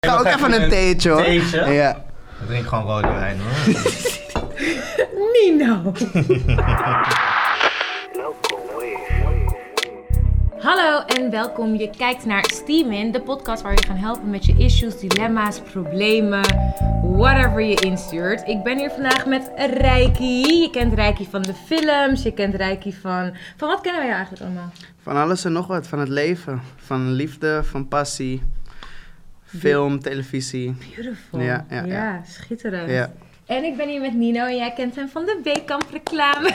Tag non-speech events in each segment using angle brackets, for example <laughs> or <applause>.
Ik ga ook even een theetje hoor. theetje? Ja. Ik drink gewoon rode wijn hoor. Nino. <laughs> Hallo en welkom. Je kijkt naar Steam In, de podcast waar je gaan helpen met je issues, dilemma's, problemen, whatever je instuurt. Ik ben hier vandaag met Reiki. Je kent Reiki van de films, je kent Reiki van... Van wat kennen wij eigenlijk allemaal? Van alles en nog wat. Van het leven. Van liefde, van passie. Film, televisie. Beautiful. Ja, ja, ja. schitterend. Ja. En ik ben hier met Nino en jij kent hem van de Weekamp reclame.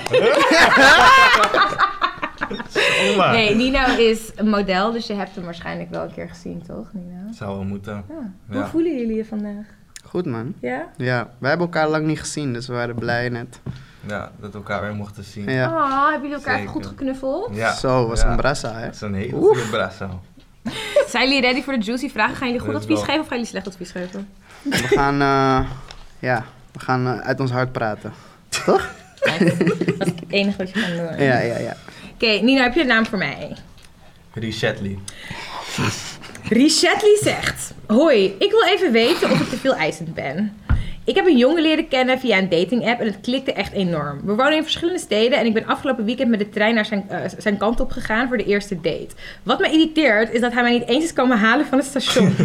maar. <laughs> Nee, Nino is een model, dus je hebt hem waarschijnlijk wel een keer gezien, toch, Nino? Zou wel moeten. Ja. Hoe Ja. voelen jullie je vandaag? Goed man. Ja? Ja, wij hebben elkaar lang niet gezien, dus we waren blij net. Ja, dat we elkaar weer mochten zien. Ja. Oh, hebben jullie elkaar even Zeker. goed geknuffeld? Ja. Zo, was Ja. een brassa hè. Dat is een hele Oef. goede brasso. <laughs> Zijn jullie ready voor de juicy vragen? Gaan jullie goed Let's advies go. geven of gaan jullie slecht advies geven? We gaan, eh, ja, we gaan eh, uit ons hart praten. Toch? Dat is het enige wat je kan doen. Ja, ja, ja. Oké, Nino, heb je een naam voor mij? Richetli. Richetli zegt: Hoi, ik wil even weten of ik te veel eisend ben. Ik heb een jongen leren kennen via een dating app en het klikte echt enorm. We wonen in verschillende steden en ik ben afgelopen weekend met de trein naar zijn, eh, zijn kant op gegaan voor de eerste date. Wat me irriteert is dat hij mij niet eens is komen halen van het station.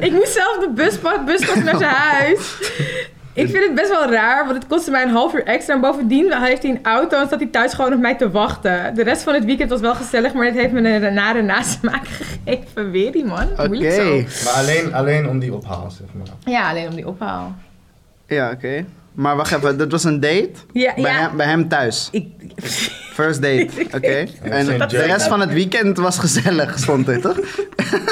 ik moest zelf de bus pakken, bus pakken naar zijn huis. Ik vind het best wel raar, want het kostte mij een half uur extra. En bovendien heeft hij een auto en zat hij thuis gewoon op mij te wachten. De rest van het weekend was wel gezellig, maar dit heeft me een nare nasmaak <laughs> gegeven. Weer die man. Oké. Moeilijk zo. Maar alleen, alleen om die ophaal, zeg maar. Ja, alleen om die ophaal. Ja, oké. Maar wacht even, dat was een date? Ja, Bij, ja. hem, bij hem thuis. Ik, <laughs> First <laughs> date, oké. En geen de joke. rest van het weekend was gezellig, stond dit toch?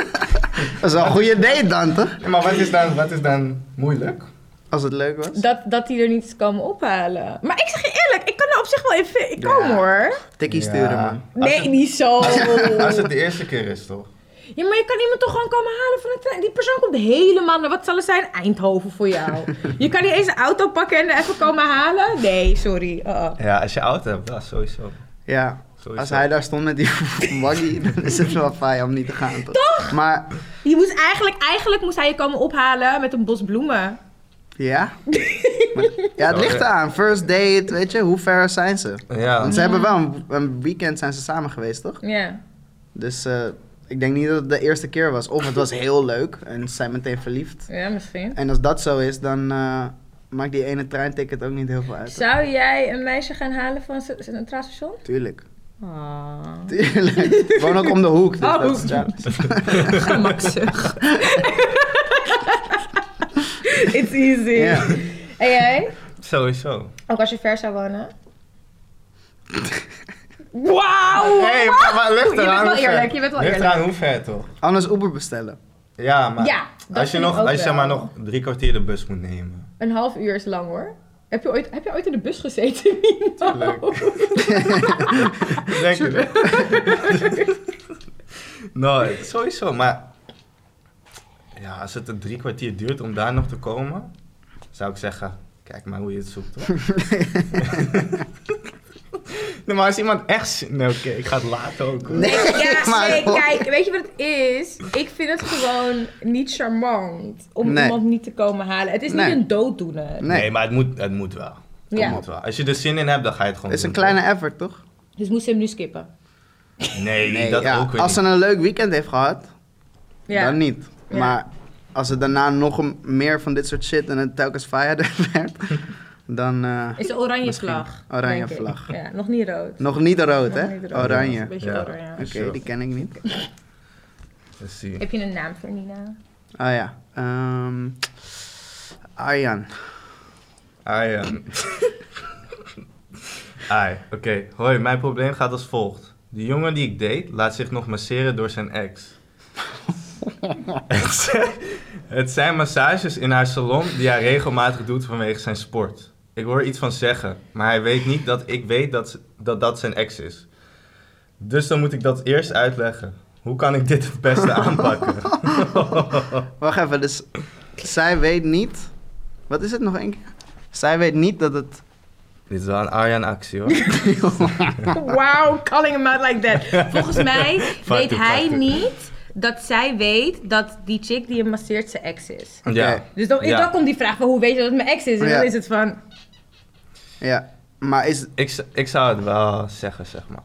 <laughs> dat is wel een goede date dan, toch? Ja, maar wat is dan, wat is dan moeilijk? Als het leuk was. dat, dat die er niet is komen ophalen. Maar ik zeg je eerlijk, ik kan er op zich wel in. vi- Ik kom Ja. hoor. Tikkie Ja. sturen, man. Nee, niet zo. Als het de eerste keer is, toch? Ja, maar je kan iemand toch gewoon komen halen van de trein. Die persoon komt helemaal naar, wat zal het zijn, Eindhoven voor jou. je kan niet eens een auto pakken en er even komen halen? Nee, sorry. Uh-uh. Ja, als je oud hebt, dat sowieso. Ja. Sowieso. Als hij daar stond met die <laughs> waggie, dan is het wel fijn om niet te gaan, toch? Maar, Je moest eigenlijk, eigenlijk moest hij je komen ophalen met een bos bloemen. ja. Maar- ja, het ligt aan. First date, weet je, hoe ver zijn ze? Ja. Want ze hebben wel een, een weekend zijn ze samen geweest, toch? Ja. Dus eh, ik denk niet dat het de eerste keer was. Of het was heel leuk en ze zijn meteen verliefd. Ja, misschien. En als dat zo is, dan eh, maakt die ene treinticket ook niet heel veel uit. Zou jij een meisje gaan halen van z- z- een traanstation? Tuurlijk. <laughs> Ah. Tuurlijk. We wonen ook om de hoek. Dus Oh, dat is hoek. challenge. Gemakzucht. <laughs> It's easy. Ja. En jij? Sowieso. Ook als je ver zou wonen? Wauw! hey, maar, maar ligt Je bent eraan wel hoe ver. eerlijk, je bent wel Ligt eerlijk. eraan hoe ver, toch? <laughs> Anders Uber bestellen. Ja, maar Ja, dat als je, vind ik nog, ook als je zeg maar wel. nog drie kwartier de bus moet nemen. Een half uur is lang hoor. Heb je ooit, heb je ooit in de bus gezeten? <laughs> Nino? Tuurlijk. <laughs> Denk je dat? nou, sowieso, maar... Ja, als het een drie kwartier duurt om daar nog te komen, zou ik zeggen, kijk maar hoe je het zoekt, hoor. <laughs> nee, maar als iemand echt... zin- Nee, oké, ik ga het later ook, hoor. Ja, <laughs> Maar- nee, kijk, weet je wat het is? Ik vind het gewoon niet charmant om Nee. iemand niet te komen halen. Het is Nee. niet een dooddoener. Nee. Nee, maar het moet, het moet wel. Het Ja. moet wel. Als je er zin in hebt, dan ga je het <laughs> gewoon Het is een doen, hoor. kleine effort, toch? Dus moest ze hem nu skippen. Nee, dat ja. ook weer Als ze niet. een leuk weekend heeft gehad, Ja. dan niet. Ja. Maar als ze daarna nog een- meer van dit soort shit en het telkens fired <laughs> werd, dan eh, Is de oranje Misschien. vlag. Oranje denk ik. vlag. Ja, nog niet rood. nog niet rood, Nog hè? niet rood. Een Oranje. beetje Ja. oranje. Oké, Sure. die ken ik niet. Dus zie. Heb je een naam voor Nina? Ah ja. ehm, Arjan. Ai, ehm. Ai, oké. Hoi, mijn probleem gaat als volgt. De jongen die ik date laat zich nog masseren door zijn ex. het, zijn, het zijn massages in haar salon die hij regelmatig doet vanwege zijn sport. Ik hoor iets van zeggen, maar hij weet niet dat ik weet dat ze- dat, dat zijn ex is. Dus dan moet ik dat eerst uitleggen. Hoe kan ik dit het beste aanpakken? Wacht even, dus zij weet niet. Wat is het nog één keer? Zij weet niet dat het. <laughs> dit is wel een Arjan-actie hoor. Wow, calling him out like that. Volgens mij weet it, hij fuck it. niet dat zij weet dat die chick die hem masseert zijn ex is. Ja. Dus dan, Ja. dan komt die vraag van hoe weet je dat het mijn ex is? En Ja. dan is het van, Ja, maar is... Ik, z- ik zou het wel zeggen, zeg maar.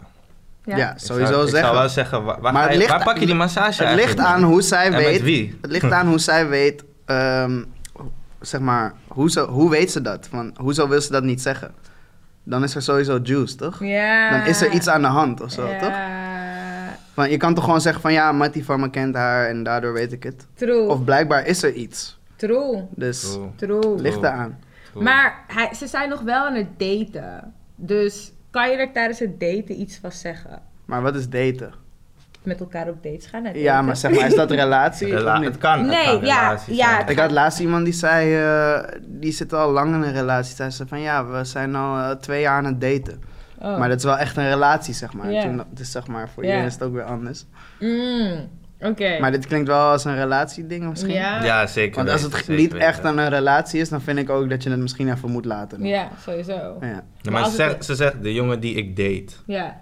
Ja, ja. Ik zou- sowieso Ik zou wel zeggen. zeggen, wa- waar, Maar ga het je- ligt- waar pak je die massage Het ligt eigenlijk aan hoe zij En met weet... wie? Het ligt aan hoe zij weet... ehm, zeg maar, hoe, zo, hoe weet ze dat? Want hoezo wil ze dat niet zeggen? Dan is er sowieso juice, toch? Ja. Dan is er iets aan de hand of zo, Ja. toch? Want je kan toch gewoon zeggen van ja, Mattie van me kent haar en daardoor weet ik het. True, Of blijkbaar is er iets. true, Dus Cool, true. ligt eraan. cool. Maar hij, ze zijn nog wel aan het daten. Dus kan je er tijdens het daten iets van zeggen? Maar wat is daten? Met elkaar op dates gaan en Ja, daten? maar zeg maar, is <laughs> dat relatie? Rela- of niet? het kan, het Nee, kan ja, relaties ja, zijn. het Ik had laatst iemand die zei, eh, die zit al lang in een relatie. Zij zei van ja, we zijn al eh, twee jaar aan het daten. <laughs> Oh. Maar dat is wel echt een relatie, zeg maar. Ja. Toen dat- dus zeg maar, voor Ja. iedereen is het ook weer anders. Mm, Oké. Maar dit klinkt wel als een relatieding misschien. Ja. Ja, zeker Want als weten, het zeker niet echt weten. aan een relatie is, dan vind ik ook dat je het misschien even moet laten. Ja, sowieso. Ja. Ja, Maar maar ze als het- zegt, ze zegt de jongen die ik date. Ja,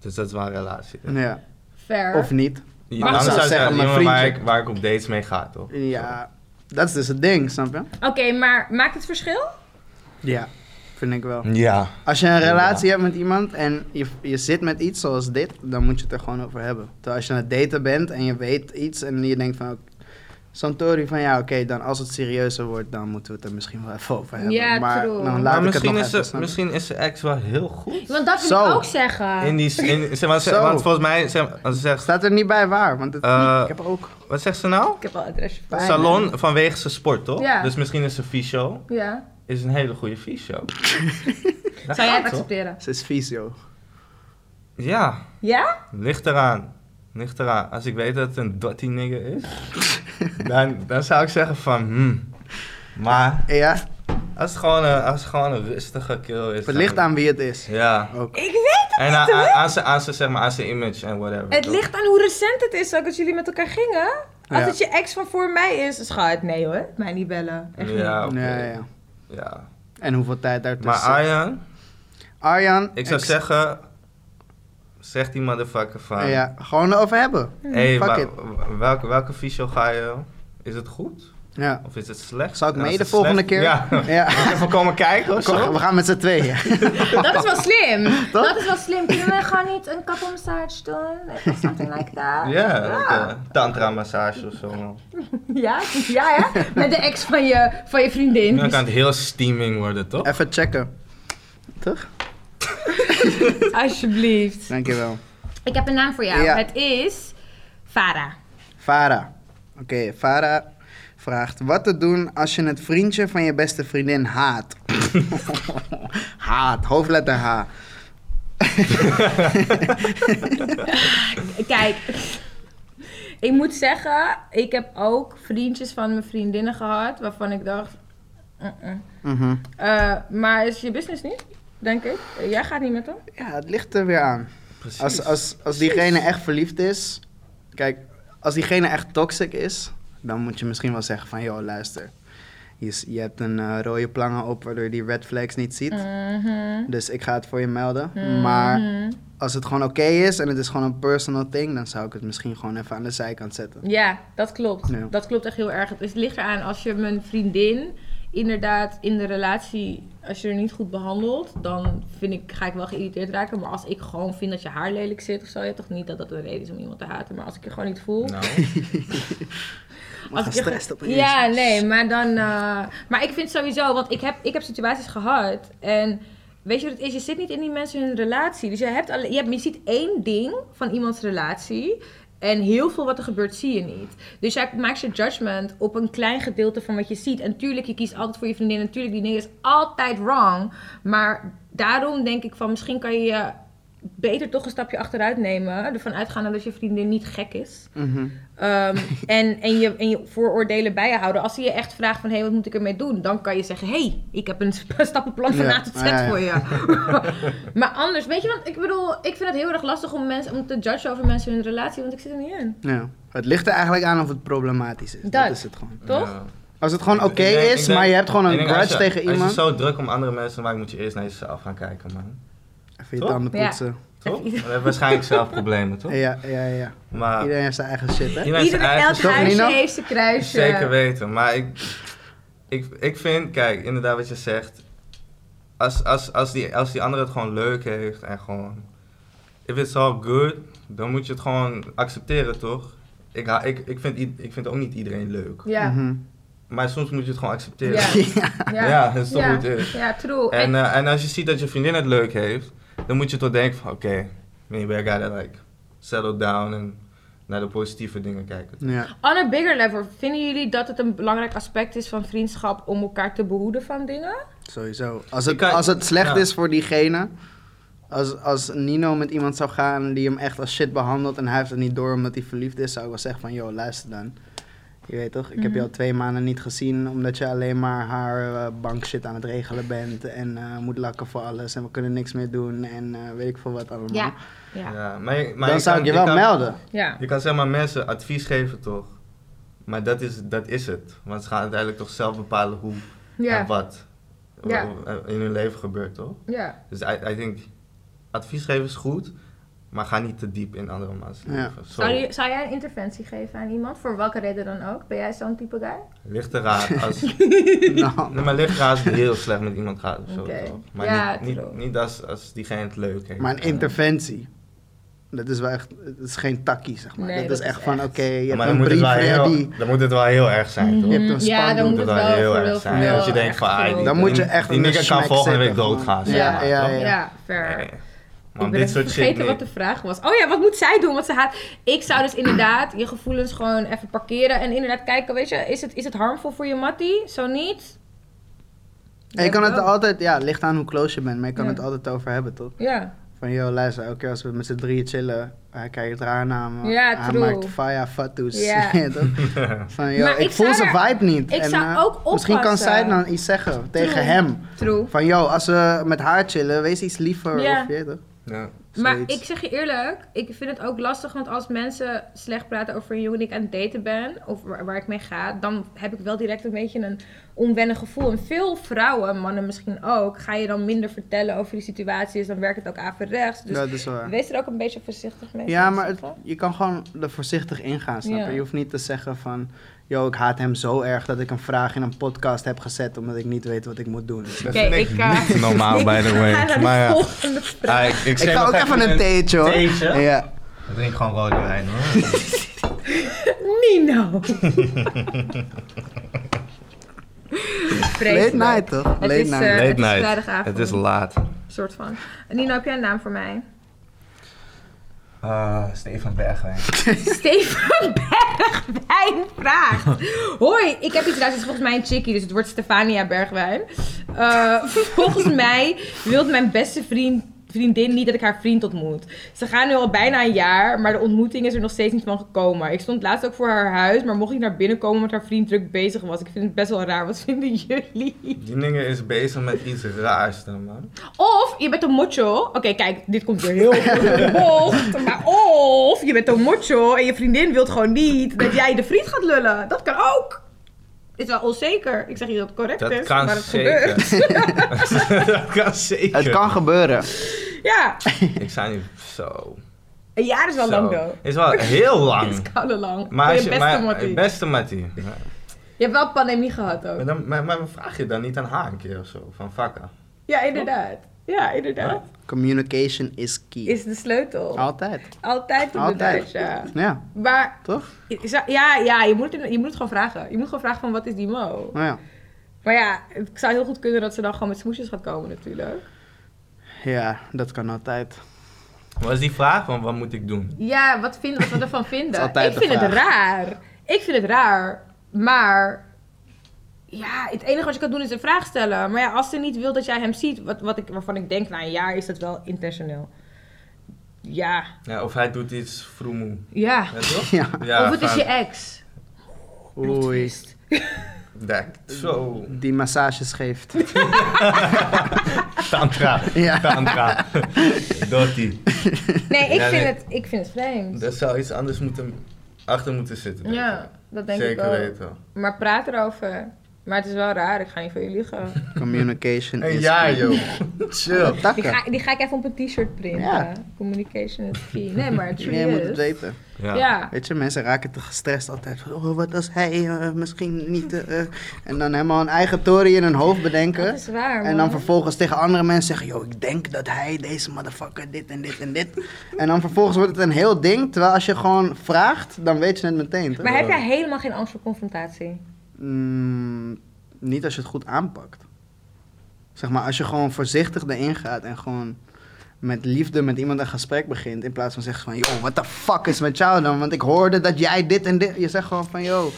Dus dat is wel een relatie. ja. fair. Of niet. Je Maar dan ze zou zou zeggen, zeggen, de mijn jongen waar ik, vriendje. waar ik op dates mee ga, toch? Ja, dat is dus het ding, snap je? Oké, maar maakt het verschil? Ja, vind ik wel. Ja. Als je een relatie hebt met iemand en je, je zit met iets zoals dit, dan moet je het er gewoon over hebben. Terwijl als je aan het daten bent en je weet iets en je denkt van... Santori van ja, oké, dan als het serieuzer wordt, dan moeten we het er misschien wel even over hebben. Ja, maar true. dan laat Maar ik misschien het nog is, even, ze, snap je? misschien is zijn ex wel heel goed. Want dat wil Zo. ik ook zeggen. In die, in, zeg maar, ze- Zo. want volgens mij, zeg, als ze zegt, Staat er niet bij waar, want het, Eh, ik heb ook... wat zegt ze nou? Ik heb al het adresje voor. Fijn, Salon vanwege zijn sport, toch? Ja. Dus misschien is ze fysio. Ja. Is een hele goede <laughs> fysio. Dat Zou jij gaat, het toch? accepteren? Ze is fysio. Ja, Ja? ligt eraan. Ligt eraan. Als ik weet dat het een dirty nigger <laughs> is, dan, dan zou ik zeggen van, hmm. Maar Ja, als het gewoon een, als het gewoon een rustige kill is... het dan- ligt aan wie het is. Ja. Ook. Ik weet het En niet aan, hoor. aan, aan, zijn- aan zijn, zeg maar, aan zijn image en whatever. Het toch? ligt aan hoe recent het is ook dat jullie met elkaar gingen. Als Ja. het je ex van voor mij is, schat, nee hoor. Mij niet bellen. Echt Ja, niet. oké. Ja, ja. Ja. En hoeveel tijd daartussen Maar zit. Arjan, Arjan, ik zou zeggen... Zeg die motherfucker van... Ja, gewoon erover hebben. hey, Fuck wa- it. wa- welke, welke fysio ga je... Is het goed? Ja. Of is het slecht? Zal ik En als mee de het volgende slecht- keer? <laughs> Ja. <laughs> Ja. Even komen kijken of Kom, zo? we gaan met z'n tweeën. <laughs> Dat is wel <laughs> slim. Toch? Dat is wel slim. Kunnen we gewoon niet een kapmassage doen? Of something like that. Ja, oké. tantra massage of zo. Man. Ja? Ja, hè? Met de ex van je, van je vriendin. Dan kan het heel steaming worden, toch? <laughs> Even checken. Toch? Alsjeblieft. Dankjewel. Ik heb een naam voor jou. Ja. Het is Farah. Farah. Oké, Farah vraagt wat te doen als je het vriendje van je beste vriendin haat. <laughs> haat, hoofdletter H. Kijk, ik moet zeggen, ik heb ook vriendjes van mijn vriendinnen gehad waarvan ik dacht. uh-uh. Mhm. Eh, maar is je business niet? Denk ik. Eh, Jij gaat niet met hem? Ja, het ligt er weer aan. Precies. Als, als, als diegene echt verliefd is, kijk, als diegene echt toxic is, dan moet je misschien wel zeggen van, joh, luister. Je, s- je hebt een eh, rode plangen op waardoor je die red flags niet ziet. Mhm. Dus ik ga het voor je melden. Maar Mhm. als het gewoon oké is en het is gewoon een personal thing, dan zou ik het misschien gewoon even aan de zijkant zetten. Ja, dat klopt. Ja. Dat klopt echt heel erg. Het is- ligt eraan als je mijn vriendin inderdaad in de relatie, als je er niet goed behandelt, dan vind ik, ga ik wel geïrriteerd raken. Maar als ik gewoon vind dat je haar lelijk zit of zo, ja, toch niet dat dat een reden is om iemand te haten. Maar als ik je gewoon niet voel. Nou, Maar ik gestrest op Ja, nee, maar dan. eh, maar ik vind sowieso, want ik heb, ik heb situaties gehad en. Weet je wat het is? Je zit niet in die mensen hun relatie. Dus je, hebt alle, je, hebt, je ziet één ding van iemands relatie. En heel veel wat er gebeurt zie je niet. Dus jij maakt je judgment op een klein gedeelte van wat je ziet. En tuurlijk, je kiest altijd voor je vriendin. En tuurlijk, die nigger is altijd wrong. Maar daarom denk ik van misschien kan je je beter toch een stapje achteruit nemen. Ervan uitgaan dat je vriendin niet gek is. Mhm. Ehm, en, en, je, en je vooroordelen bij je houden. Als hij je echt vraagt van, hé, wat moet ik ermee doen? Dan kan je zeggen, hé, hey, ik heb een <laughs> sp- stappenplan van Ja, A tot Z ja, ja. voor je. maar anders, weet je, <laughs> want ik bedoel, ik vind het heel erg lastig om, mensen, om te judgen over mensen hun relatie, want ik zit er niet in. Ja. Het ligt er eigenlijk aan of het problematisch is. Dat, Dat. is het gewoon. Toch? ja. Als het gewoon oké nou. Ik denk- ik is, denk- maar je hebt gewoon ik een denk als grudge je- tegen iemand. Als je zo druk om andere mensen maakt, moet je eerst naar jezelf gaan kijken, man. Even je Toch? tanden Ja. poetsen. Toch? We hebben waarschijnlijk zelf problemen, toch? Ja, ja, ja. Maar Iedereen heeft zijn eigen shit, hè? iedereen zijn Ieder eigen elk Toch, huisje Nina? heeft zijn kruisje. Zeker weten. Maar ik, ik, ik vind, kijk, inderdaad wat je zegt. Als, als, als, die, als die andere het gewoon leuk heeft en gewoon... If it's all good, dan moet je het gewoon accepteren, toch? Ik, ha- ik, ik, vind, i- ik vind ook niet iedereen leuk. Ja, Mhm. Maar soms moet je het gewoon accepteren. Ja. Ja. ja. Ja, dat is toch Ja. hoe het is. Ja, true. En, En, eh, en als je ziet dat je vriendin het leuk heeft, dan moet je toch denken van... Oké, maybe I gotta like settle down en naar de positieve dingen kijken. <laughs> Ja. on a bigger level, vinden jullie dat het een belangrijk aspect is van vriendschap om elkaar te behoeden van dingen? Sowieso. Als Je het, kan- als het slecht ja. is voor diegene. Als, als Nino met iemand zou gaan die hem echt als shit behandelt en hij heeft het niet door omdat hij verliefd is, zou ik wel zeggen van, joh, luister dan. Je weet toch, ik heb je Mhm. al twee maanden niet gezien omdat je alleen maar haar eh, bankshit aan het regelen bent en eh, moet lakken voor alles en we kunnen niks meer doen en eh, weet ik veel wat allemaal. Ja. Ja, maar, je- maar dan zou kan- ik je wel kan- <laughs> melden. ja. Je kan zeg maar mensen advies geven toch? Maar dat is, dat is het. Want ze gaan uiteindelijk toch zelf bepalen hoe en Ja, wat Ja. in hun leven gebeurt toch? ja, Dus I, I think, advies geven is goed, maar ga niet te diep in andere mensen Ja. leven. Zo, Zou, je- zou jij een interventie geven aan iemand? Voor welke reden dan ook? Ben jij zo'n type guy? ligt eraan <laughs> als... Nou, nee, maar ligt eraan als je heel slecht met iemand gaat of zo. Oké. toch? Maar Ja, niet, niet, true. niet als, als diegene het leuk heeft. maar een Eh, interventie. Dat is wel echt, het is geen takkie zeg maar. Nee, dat, dat is is echt van, oké, echt- je hebt maar dan een moet, het brief wel ready. heel, dan moet het wel heel erg zijn, toch? Je hebt een ja, dan spandoek. moet Dat moet wel Mhm. het wel heel voor erg heel zijn. veel- Dat je denkt van, echt ah, veel- die- Dan moet je echt Die een nigger kan smack volgende zetten, week doodgaan. gewoon. zeg Ja, maar, ja, toch? ja. Ja, fair. Nee. ik Want ben dit even soort shit. vergeten nee. wat de vraag was. Oh ja, wat moet zij doen? Wat ze haat. Ik zou dus inderdaad je gevoelens gewoon even parkeren. En inderdaad kijken, weet je, is het, is het harmvol voor je mattie? Zo niet? En je kan het Ja. altijd, ja, ligt aan hoe close je bent, maar je kan Ja. het altijd over hebben, toch? Ja, Van, yo, luister, elke keer als we met z'n drieën chillen, eh, hij kijkt raar naar me. Ja, hij true. maakt fire fatsoes. Ja. <laughs> Ja. toch? <laughs> Van, yo, Maar ik ik voel zou zijn daar- vibe niet. ik zou eh, ook oppassen. Misschien kan zij dan iets zeggen tegen True. hem. true. Van, yo, als we met haar chillen, wees iets liever. Ja. Of, je, weet toch? Ja. Maar Zoiets. ik zeg je eerlijk, ik vind het ook lastig, want als mensen slecht praten over een jongen die ik aan het daten ben, of waar, waar ik mee ga, dan heb ik wel direct een beetje een onwennig gevoel. En veel vrouwen, mannen misschien ook, ga je dan minder vertellen over die situaties, dan werkt het ook averechts. Dus dat is waar. wees er ook een beetje voorzichtig mee. Ja, zou ik maar het- zeggen. je kan gewoon er voorzichtig in gaan, snap je? Ja. Je hoeft niet te zeggen van... Yo, ik haat hem zo erg dat ik een vraag in een podcast heb gezet... omdat ik niet weet wat ik moet doen. Dat Oké, vind ik, eh, niet normaal, <laughs> ik by the ga naar way. de Maar ja. volgende vraag. Ah, ik, ik, Ik zeg ga nog ook even een theetje, hoor. theetje? Ja. Ik drink gewoon rode wijn, hoor. Ah. <laughs> Nino. Late Vreselijk. night, toch? Het Late is, night. eh, Late is night. vrijdagavond. Het is laat. soort van. Nino, heb jij een naam voor mij? Ah, Stefan Bergwijn. Steven <laughs> Bergwijn vraagt. Hoi, ik heb iets raars. Het is volgens mij een chickie, dus het wordt Stefania Bergwijn. Eh, volgens mij wil mijn beste vriend, vriendin niet dat ik haar vriend ontmoet. Ze gaan nu al bijna een jaar, maar de ontmoeting is er nog steeds niet van gekomen. Ik stond laatst ook voor haar huis, maar mocht niet naar binnen komen omdat haar vriend druk bezig was. Ik vind het best wel raar. Wat vinden jullie? Die nigger is bezig met iets raars, dan, man. Of je bent een mocho. Oké, kijk, dit komt weer heel goed uit de bocht. Maar of je bent een mocho en je vriendin wilt gewoon niet dat jij de vriend gaat lullen. Dat kan ook. Is wel onzeker. Ik zeg niet dat het correct Dat is, kan maar het zeker. <laughs> gebeurt. Dat kan zeker. Het kan gebeuren. <laughs> Ja, Ik sta nu zo. een jaar is wel zo. lang though. Is wel <laughs> heel Het is lang. koude lang. Maar Voor als je je, beste maar, mattie. beste Mattie. Ja. Je hebt wel pandemie gehad ook. Maar, dan, maar, maar vraag je dan niet aan haar een keer of zo? Van vakka. Ja, inderdaad. Ja, inderdaad. Communication is key. Is de sleutel. Altijd. Altijd op de Altijd. Duits, ja. Ja, Maar toch? ik zou- ja, ja je, moet, het- je moet het gewoon vragen. Je moet gewoon vragen van wat is die mo? Nou ja. Maar ja, het zou heel goed kunnen dat ze dan gewoon met smoesjes gaat komen natuurlijk. Ja, dat kan altijd. Wat is die vraag van wat moet ik doen? Ja, wat, vind, wat we <laughs> ervan vinden. is altijd ik de vind het vraag. raar. Ik vind het raar. Maar ja, het enige wat je kan doen is een vraag stellen. Maar ja, als ze niet wil dat jij hem ziet, wat, wat ik, waarvan ik denk na een jaar, is dat wel intentioneel. Ja, Ja, of hij doet iets vroemoe. ja. Ja, <laughs> toch? Ja. Ja, of het is van- je ex. Oei, Dat, zo. die massages geeft. Tantra. <laughs> Ja. Tantra. <laughs> Dotti. Nee, ik, Ja, vind, nee. Het, ik vind het vreemd. Daar zou iets anders moeten, achter moeten zitten. denk ik. Ja, dat denk Zeker ik ook. weten. Maar praat erover. Maar het is wel raar, ik ga niet voor je liegen. Communication Een is... jaar, key. joh. <laughs> Chill. Wat Die takken? ga, die ga ik even op een t-shirt printen. Ja. Communication is key. Nee, maar het Nee, je moet het weten. Ja. Ja. Weet je, mensen raken te gestrest altijd. Van, oh, wat als hij eh, misschien niet... eh, eh. en dan helemaal een eigen tory in hun hoofd bedenken. Dat is waar, En dan man. vervolgens tegen andere mensen zeggen: Yo, ik denk dat hij deze motherfucker dit en dit en dit. En dan vervolgens wordt het een heel ding. Terwijl als je gewoon vraagt, dan weet je het meteen. Toch? Maar heb jij helemaal geen angst voor confrontatie? Mm, niet als je het goed aanpakt. Zeg maar, als je gewoon voorzichtig erin gaat en gewoon met liefde met iemand een gesprek begint. In plaats van zeggen van, yo, what the fuck is met jou dan? Want ik hoorde dat jij dit en dit... Je zegt gewoon van, yo,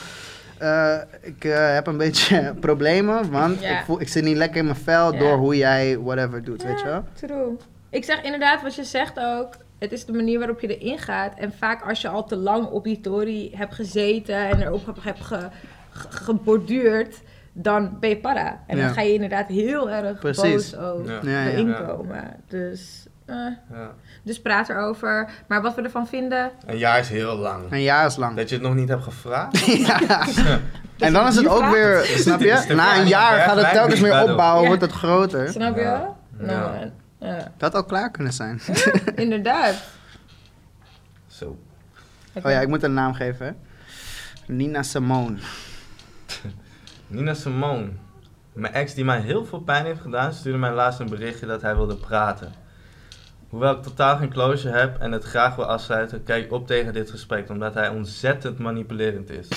eh, ik eh, heb een beetje <laughs> problemen. Want Ja. ik, voel, ik zit niet lekker in mijn vel Ja. door hoe jij whatever doet, weet je wel? True. Ik zeg inderdaad wat je zegt ook. Het is de manier waarop je erin gaat. En vaak als je al te lang op die tory hebt gezeten en erop hebt- hebt ge- ge- geborduurd, dan ben je para. En Ja. dan ga je inderdaad heel erg Precies. boos ook Ja. Ja, ja. erin Ja. komen. Dus, eh, Ja. dus praat erover. Maar wat we ervan vinden, Een jaar is heel lang. Een jaar is lang. Dat je het nog niet hebt gevraagd. <laughs> Ja. En dan is het nu ook vraagt. weer, <laughs> snap Dit is je? de Na een vraag. jaar gaat het Blijf telkens niet meer verder. opbouwen, Ja. wordt het groter. snap je? Ja. Nou, Ja. ja, Dat had al klaar kunnen zijn. inderdaad. Zo. <laughs> Oh ja, ik moet een naam geven. hè. Nina Simone. Nina Simone. Mijn ex die mij heel veel pijn heeft gedaan, stuurde mij laatst een berichtje dat hij wilde praten. Hoewel ik totaal geen closure heb en het graag wil afsluiten, kijk ik op tegen dit gesprek, omdat hij ontzettend manipulerend <laughs> is.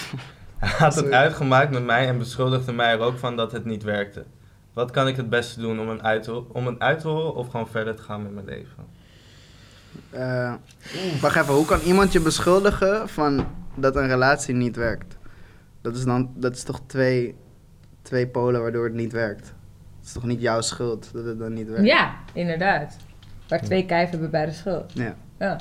Hij had het Sorry. uitgemaakt met mij en beschuldigde mij er ook van dat het niet werkte. Wat kan ik het beste doen om hem uit te, ho- om hem uit te horen of gewoon verder te gaan met mijn leven? Eh, wacht even, hoe kan iemand je beschuldigen van dat een relatie niet werkt? Dat is, dan, dat is toch twee, twee polen waardoor het niet werkt? Het is toch niet jouw schuld dat het dan niet werkt? Ja, inderdaad. Waar twee kijven hebben bij de schuld. Ja. Ja.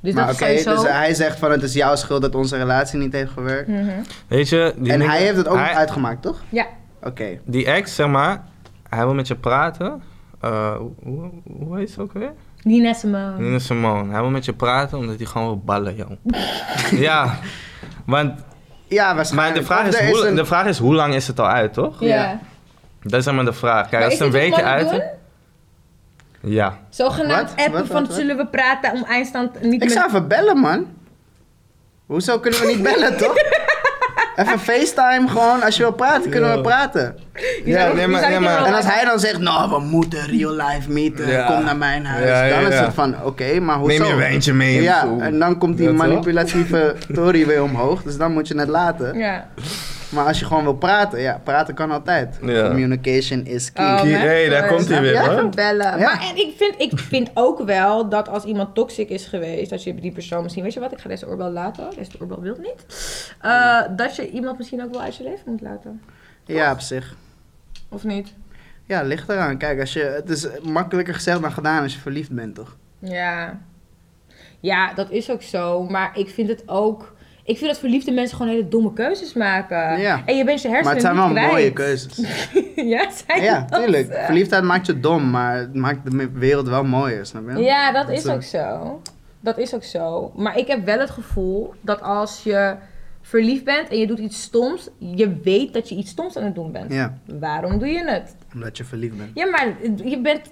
Dus maar dat oké, is sowieso... dus hij zegt van het is jouw schuld dat onze relatie niet heeft gewerkt. Mhm. Weet je, die, En hij heeft het ook nog uitgemaakt, toch? Ja. Oké. die ex, zeg maar, hij wil met je praten. Eh, hoe, hoe heet ze ook weer? Nina Simone. Nina Simone, hij wil met je praten omdat hij gewoon wil ballen, <laughs> jong. ja, want Ja, maar waarschijnlijk. de, vraag Of is, er hoe, een- de vraag is hoe lang is het al uit, toch? Ja. Ja. Dat is helemaal de vraag. Kijk, Maar als is het een dit wat weekje mannen uit... doen? Ja. Zogenaamd Wat? appen Wat, wat, van wat? zullen we praten om eindstand niet Ik met... zou even bellen, man. Hoezo kunnen we niet <laughs> bellen, toch? Even FaceTime, gewoon. Als je wil praten, kunnen we Ja. praten. zou- Ja, nee, maar- nee, maar- En als hij dan zegt, nou, we moeten real life meeten, Ja. kom naar mijn huis. Ja, ja, dan is ja. het van, oké, maar hoezo? Neem je wijntje mee of Ja, zo. en dan komt die Ja, toch? <laughs> manipulatieve tory weer omhoog. Dus dan moet je het laten. Ja. Maar als je gewoon wil praten, ja, praten kan altijd. Ja. Communication is key. Oh, Kie- maar- hey, daar komt hij weer, Ja, hoor. even Ja. bellen. Maar en ik, vind, ik vind ook wel dat als iemand toxic is geweest, dat je die persoon misschien, weet je wat, ik ga deze oorbel laten, deze oorbel wil niet, Eh, dat je iemand misschien ook wel uit je leven moet laten. Ja, op zich. Of niet? Ja, ligt eraan. Kijk, als je, het is makkelijker gezegd dan gedaan als je verliefd bent, toch? Ja. Ja, dat is ook zo. Maar ik vind het ook... Ik vind dat verliefde mensen gewoon hele domme keuzes maken. Ja. En je bent je hersenen Maar het zijn niet wel kwijt. mooie keuzes. <laughs> ja, zijn Ja, dat? tuurlijk. Verliefdheid maakt je dom, maar het maakt de wereld wel mooier, snap je? Ja, dat Dat eh, is is- ook zo. Dat is ook zo. Maar ik heb wel het gevoel dat als je verliefd bent en je doet iets stoms, je weet dat je iets stoms aan het doen bent. Ja, Waarom doe je het? omdat je verliefd bent. Ja, maar je bent.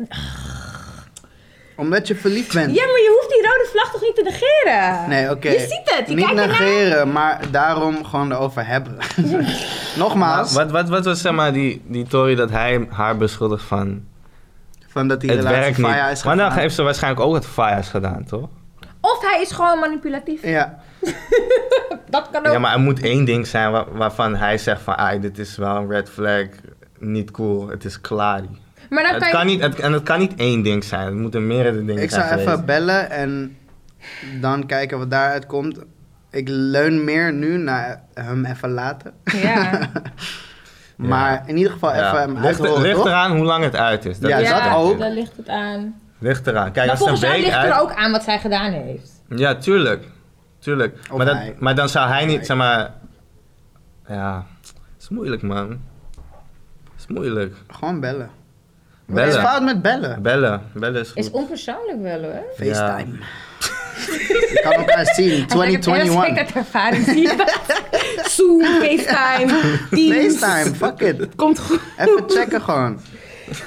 Omdat je verliefd bent. Ja, maar je hoeft die rode vlag toch niet te negeren? Nee, oké. Je ziet het. Je Niet kijkt ernaar. negeren, maar daarom gewoon erover <laughs> hebben. Nogmaals, Wat, wat, wat was zeg maar die, die Tory dat hij haar beschuldigt van van dat die het relatie werkt van jou niet. is Maar nou, dan gegaan. heeft ze waarschijnlijk ook het FIA's gedaan, toch? Of hij is gewoon manipulatief. Ja, Dat kan ook. Ja, maar er moet één ding zijn wa- waarvan hij zegt van, ah, dit is wel een red flag, niet cool, het is klaar. Maar dan Het kan kan je... niet, het, en het kan niet één ding zijn, het moeten meerdere dingen ik zijn zou even geweest. bellen en dan kijken wat daaruit komt. Ik leun meer nu naar hem even laten. <laughs> Ja. <laughs> Maar in ieder geval Ja. even hem ligt, uithoren, ligt toch? eraan hoe lang het uit is. Ja, is dat het. ook. Daar ligt het aan. Ligt eraan. Kijk, maar als volgens het een mij week ligt uit... er ook aan wat zij gedaan heeft. Ja, tuurlijk. Tuurlijk. Of Maar, dat, hij. maar dan zou hij niet, Hij. zeg maar... Ja, het is moeilijk, man. Het is moeilijk. Gewoon bellen. Wat is Bellen. fout met bellen? Bellen. Bellen is goed. Is onpersoonlijk wel hoor. FaceTime. <laughs> Je kan elkaar zien. Ik 2021. dat ervaring zie je dat? Zoom, FaceTime, Teams. FaceTime, fuck it. Komt goed. Even checken gewoon.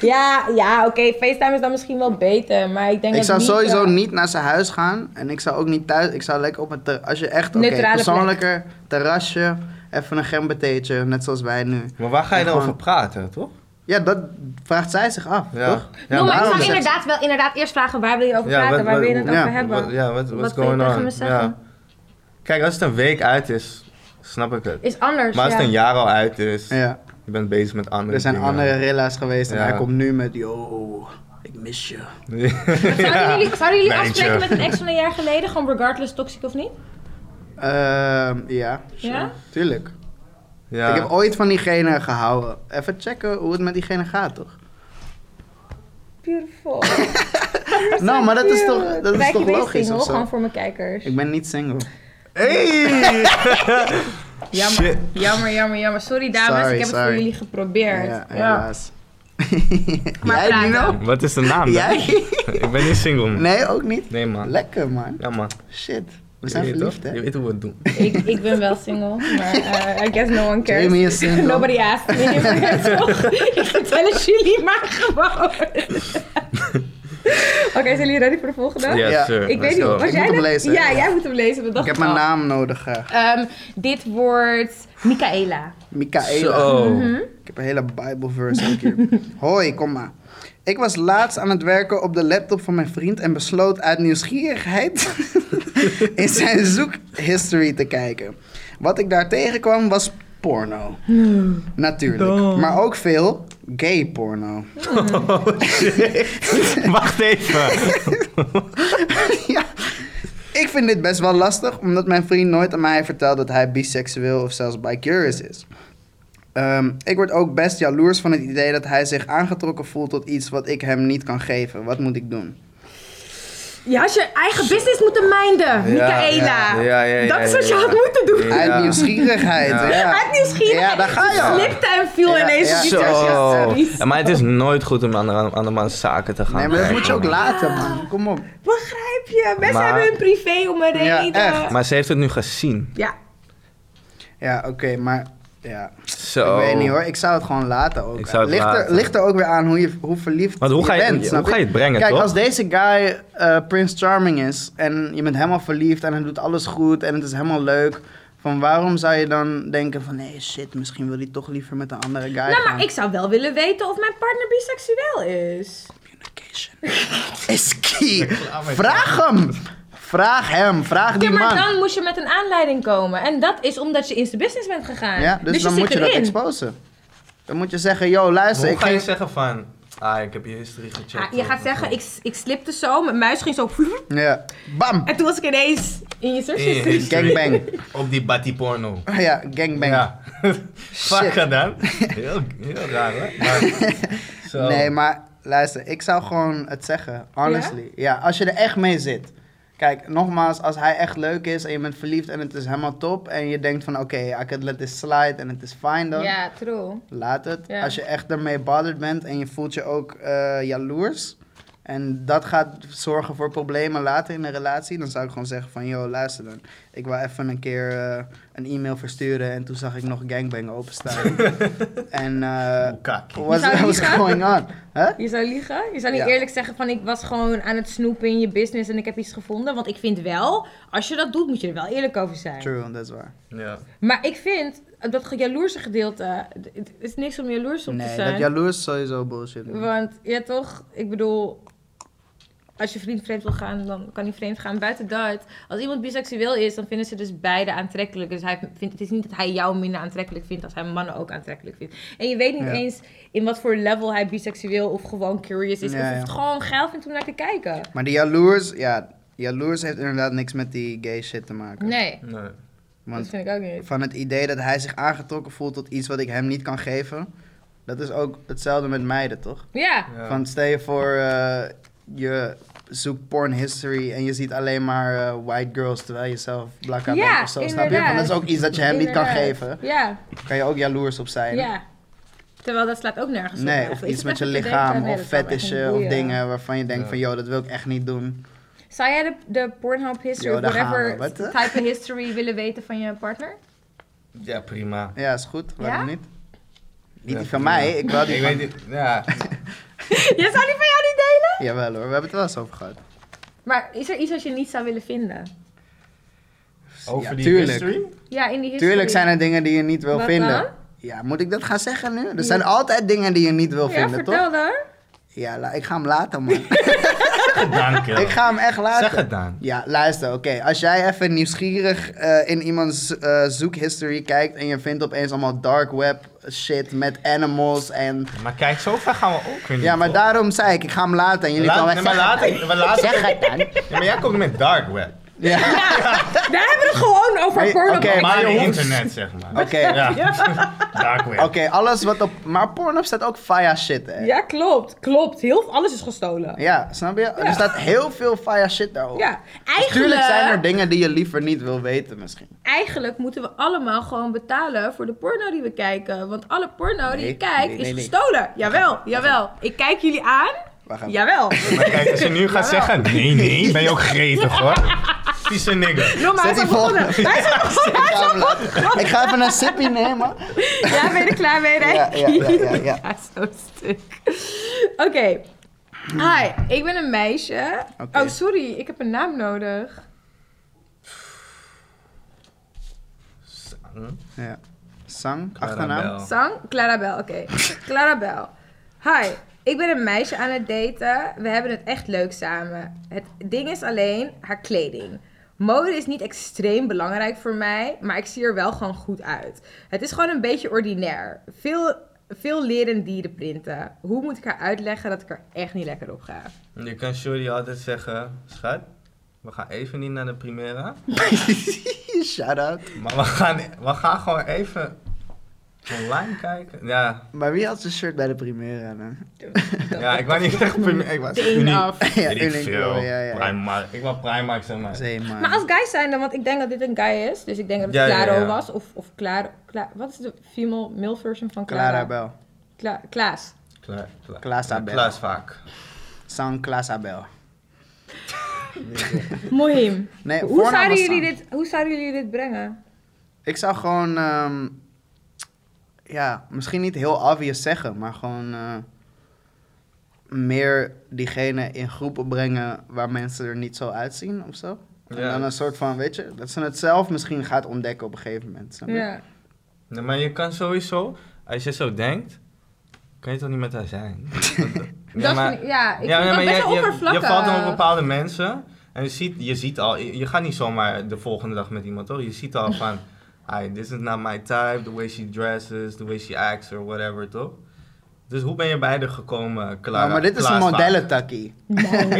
Ja, ja oké, FaceTime is dan misschien wel beter, maar ik denk Ik dat zou niet, sowieso eh, niet naar zijn huis gaan. En ik zou ook niet thuis. Ik zou lekker op een ter- Als je echt oké, Neutrale plek. persoonlijker terrasje. Even een gembertheetje, net zoals wij nu. Maar waar ga je Ja, dan over gewoon- praten, toch? Ja, dat vraagt zij zich af, toch? Ja, no, maar ik daarom zou zeg- inderdaad wel inderdaad eerst vragen waar wil je over Ja, praten, wat- waar wil je wat- het ja, over hebben. Wat- Ja, wat, what's Wat wil je going tegen on? me zeggen? Ja. Kijk, als het een week uit is, snap ik het. Is anders. Maar als ja. het een jaar al uit is, Ja. je bent bezig met andere Er zijn dingen. andere rilla's geweest en Ja. hij komt nu met, yo, ik mis je. <laughs> Zouden jullie, zouden jullie Lijntje. afspreken met een ex van een jaar geleden, gewoon regardless toxic of niet? Ehm, ja, sure. Ja? tuurlijk. Ja. Ik heb ooit van diegene gehouden. Even checken hoe het met diegene gaat, toch? <laughs> Beautiful. Nou, maar dat is toch, dat is Wijkje toch ben je logisch single? of zo? Gewoon voor mijn kijkers. Ik ben niet single. <laughs> Hey! Jammer, Shit. jammer, jammer, jammer. Sorry dames, Sorry, ik heb het sorry. voor jullie geprobeerd. Ja, helaas. <laughs> Maar Jij, Nino? praten. Wat is de naam dan? <laughs> Jij? Ik ben niet single, man. Nee, ook niet. Nee, man. Lekker, man. Ja, man. Shit. We Je zijn weet verliefd, toch? Je hè? weet hoe we het doen. Ik, ik ben wel single, maar eh, I guess no one cares. Jamie is single. <laughs> Nobody asked <laughs> me. Toch? ik <laughs> vertel het jullie maar <laughs> gewoon. Oké, zijn jullie ready voor de volgende? Yes, Ja. sir. Let's Ik weet niet, go. was Ik jij moet hem net- lezen. Ja, jij moet hem lezen. Dat dacht Ik heb al. mijn naam nodig eh. graag. Ehm, dit wordt Michaela. Michaela. Zo. Ik heb een hele Bijbelverse ook hier. Hoi, kom maar. Ik was laatst aan het werken op de laptop van mijn vriend en besloot uit nieuwsgierigheid <laughs> in zijn zoekhistory te kijken. Wat ik daar tegenkwam was porno. Natuurlijk. Damn. Maar ook veel gay porno. Wacht <laughs> even. <laughs> ja. Ik vind dit best wel lastig, omdat mijn vriend nooit aan mij vertelt dat hij biseksueel of zelfs bicurious is. Ehm, ik word ook best jaloers van het idee dat hij zich aangetrokken voelt tot iets wat ik hem niet kan geven. Wat moet ik doen? Je had je eigen business moeten minden, Michaela. ja, ja, ja, dat is ja, wat je ja. had moeten doen. Ja. Uit nieuwsgierigheid. Ja. Ja. Uit nieuwsgierigheid. Ja, daar ga je al. Slipte en viel Ja, ineens ja. op die Zo. tasje. Sorry. Ja, maar het is nooit goed om aan de, aan de man's zaken te gaan. Nee, maar dat kijken, moet je ook man. laten, man. Kom op. Begrijp je? Mensen Maar- hebben hun privé om een Ja, reden. echt. Maar ze heeft het nu gezien. Ja. Ja, oké, maar. Ja. Zo. Ik weet niet hoor, ik zou het gewoon laten ook. Oh. Ik zou het ligt, Er, laten. ligt er ook weer aan hoe, je, hoe verliefd Want hoe ga je- bent. hoe snap ga je het brengen, Kijk, toch? als deze guy eh Prince Charming is en je bent helemaal verliefd en hij doet alles goed en het is helemaal leuk. Van waarom zou je dan denken van nee shit, misschien wil hij toch liever met een andere guy Nou, gaan. maar ik zou wel willen weten of mijn partner biseksueel is. Communication <laughs> is key. Vraag hem. Vraag hem. Vraag Ja, die maar man. dan moest je met een aanleiding komen. En dat is omdat je in zijn business bent gegaan. Ja, dus, dan je moet zit je dat erin. exposen. Dan moet je zeggen, yo luister, Hoe ik ga je ging... zeggen van... Ah, ik heb je history gecheckt. Ah, je gaat zeggen, ik, ik slipte zo, mijn muis ging zo... Ja. Bam. En toen was ik ineens in je In je zusjes. Dus- history. Gangbang. Op die batty porno. Ja, gangbang. <laughs> Ja. Fuck gedaan. Heel, heel raar, hè? Maar, zo. Nee, maar luister, ik zou gewoon het zeggen. Honestly. Ja? als je er echt mee zit. Kijk, nogmaals, als hij echt leuk is en je bent verliefd en het is helemaal top. En je denkt van, oké, I can let this slide en het is fine dan. Ja, true. Laat het. Ja. Als je echt ermee bothered bent en je voelt je ook eh, jaloers. En dat gaat zorgen voor problemen later in de relatie. Dan zou ik gewoon zeggen van, yo, luister dan. Ik wil even een keer eh, een e-mail versturen. En toen zag ik nog gangbang <laughs> openstaan. en eh, Oeh, kak. what's, Oh, zou what's liegen? going on? Huh? Je zou liegen? Je zou niet Ja. eerlijk zeggen van ik was gewoon aan het snoepen in je business en ik heb iets gevonden. Want ik vind wel, als je dat doet, moet je er wel eerlijk over zijn. True, dat is waar. Ja. Maar ik vind dat ge- jaloerse gedeelte, d- het is niks om jaloers op te Nee, dat zijn. jaloers is sowieso bullshit. Want ja toch, ik bedoel, als je vriend vreemd wil gaan, dan kan hij vreemd gaan. Buiten dat, als iemand biseksueel is, dan vinden ze dus beide aantrekkelijk. Dus hij vindt, het is niet dat hij jou minder aantrekkelijk vindt als hij mannen ook aantrekkelijk vindt. En je weet niet Ja. eens in wat voor level hij biseksueel of gewoon curious is. Ja, of ja. het gewoon geil vindt om naar te kijken. Maar die jaloers, ja, jaloers heeft inderdaad niks met die gay shit te maken. Nee, Nee. dat Want vind ik ook niet. van het idee dat hij zich aangetrokken voelt tot iets wat ik hem niet kan geven, dat is ook hetzelfde met meiden, toch? Ja, Ja. Van stel je voor, eh, je zoekt porn history en je ziet alleen maar eh, white girls terwijl je zelf black out Ja, bent of zo. Snap je? inderdaad. Van, dat is ook iets dat je hem niet kan inderdaad. geven. Ja, Kan je ook jaloers op zijn. ja. Terwijl dat slaat ook nergens op. Nee, Of of is iets het met je echt te denken? lichaam Nee, of dat zou me echt niet fetishen of boeien. dingen waarvan je denkt Ja. van, joh, dat wil ik echt niet doen. Zou jij de, de Pornhub history Yo, of daar gaan whatever we. Wat, hè? type of history willen weten van je <laughs> partner? Ja, prima. Ja, is goed. Waarom Ja? niet? Niet Ja, die van prima. mij, ik wil die Ik van... weet niet, ja. Je zou die van jou niet delen? Jawel hoor, we hebben het wel eens over gehad. Maar is er iets wat je niet zou willen vinden? Over Ja, die tuurlijk. history? Ja, in die history. Tuurlijk zijn er dingen die je niet wil Wat vinden. dan? Ja, moet ik dat gaan zeggen nu? Er zijn altijd dingen die je niet wil Ja, vinden, toch? vertel <laughs> dan. Ja, la- ik ga hem laten, <laughs> man. Dank je. ik ga hem echt laten. Zeg het dan. Ja, luister, oké. Als jij even nieuwsgierig eh, in iemands eh, zoekhistory kijkt en je vindt opeens allemaal dark web shit met animals en... Maar kijk, zo ver gaan we ook weer niet. Ja, maar op. daarom zei ik, ik ga hem laten en jullie Laat- gaan nee, weg. maar later, maar later- Zeg het dan. <laughs> Ja, maar jij komt met dark web. Ja. Ja, daar hebben we het gewoon over Hey, porno. oké, kijken. maar Maar je hoeft- internet, zeg maar. Oké. Ja. <laughs> dark web. Oké, alles wat op... Maar op Pornhub staat ook fire shit, hè? Ja, klopt. Klopt. Heel, alles is gestolen. Ja, snap je? Er staat heel veel fire shit daarop. Ja, Dus Tuurlijk eigenlijk, zijn er dingen die je liever niet wil weten misschien. eigenlijk moeten we allemaal gewoon betalen voor de porno die we kijken. Want alle porno die Nee, je kijkt nee, nee, is nee. gestolen. Jawel, jawel. Ik kijk jullie aan. Waar gaan we? Jawel. <laughs> Maar kijk, als je nu gaat Jawel. zeggen, nee, nee, ben je ook gretig <laughs> hoor. Vieze nigger. Noem maar, hij Zet is al die <laughs> begonnen. volgende. Hij is al begonnen. Hij is al begonnen. Ik ga even een sippie nemen. Ja, ben je er klaar mee, Rijk? Ja, ja, ja, ja, <laughs> ja. zo stuk. Oké. Hi, ik ben een meisje. Oké. Oh, sorry. Ik heb een naam nodig. Ja. Sang, Clarabel. <laughs> achternaam. Sang? Clarabel, oké. Clarabel. Hi, ik ben een meisje aan het daten. We hebben het echt leuk samen. Het ding is alleen haar kleding. Mode is niet extreem belangrijk voor mij, maar ik zie er wel gewoon goed uit. Het is gewoon een beetje ordinair. Veel, veel leren dierenprinten. Hoe moet ik haar uitleggen dat ik er echt niet lekker op ga? Je kan Shorty altijd zeggen, schat, we gaan even niet naar de Primera. Shout out. Maar we gaan, we gaan gewoon even online kijken. Ja, Maar wie had zijn shirt bij de Primera dan? <laughs> ja ik wou niet echt Primera. Ik was Deen af. Ja, Weet ik Uniqlo, veel. ja, ja. Primark. Ik wou Primark zeg maar. Zee, man. Maar als guys zijn dan, want ik denk dat dit een guy is. Dus ik denk dat het Ja, ja, Claro ja. was. Of, of Claro. Cla- wat is de female male version van Clara? Clara Bel. Kla- Klaas. Klaas, Klaas, Klaas Ja, Abel. Klaas vaak. Sang Clasa Bel. Mohim. Nee, hoe, voornaam zouden was jullie Sam. dit, hoe zouden jullie dit brengen? Ik zou gewoon, ehm, ja, misschien niet heel obvious zeggen, maar gewoon eh, meer diegene in groepen brengen waar mensen er niet zo uitzien of zo. En Ja. dan een soort van, weet je, dat ze het zelf misschien gaat ontdekken op een gegeven moment. snap je? Ja. Nee, maar je kan sowieso, als je zo denkt, kan je toch niet met haar <laughs> zijn? Dat vind ik- ja, ik vind dat maar best je- wel je, je oppervlakkig. valt dan op bepaalde mensen en je ziet, je ziet al, je, je gaat niet zomaar de volgende dag met iemand, toch? Je ziet al <laughs> van, hi, this is not my type, the way she dresses, the way she acts or whatever, toch? Dus hoe ben je bij haar gekomen, Clara? Nou, maar dit is Klaas een Vaak? modellentakkie. <laughs>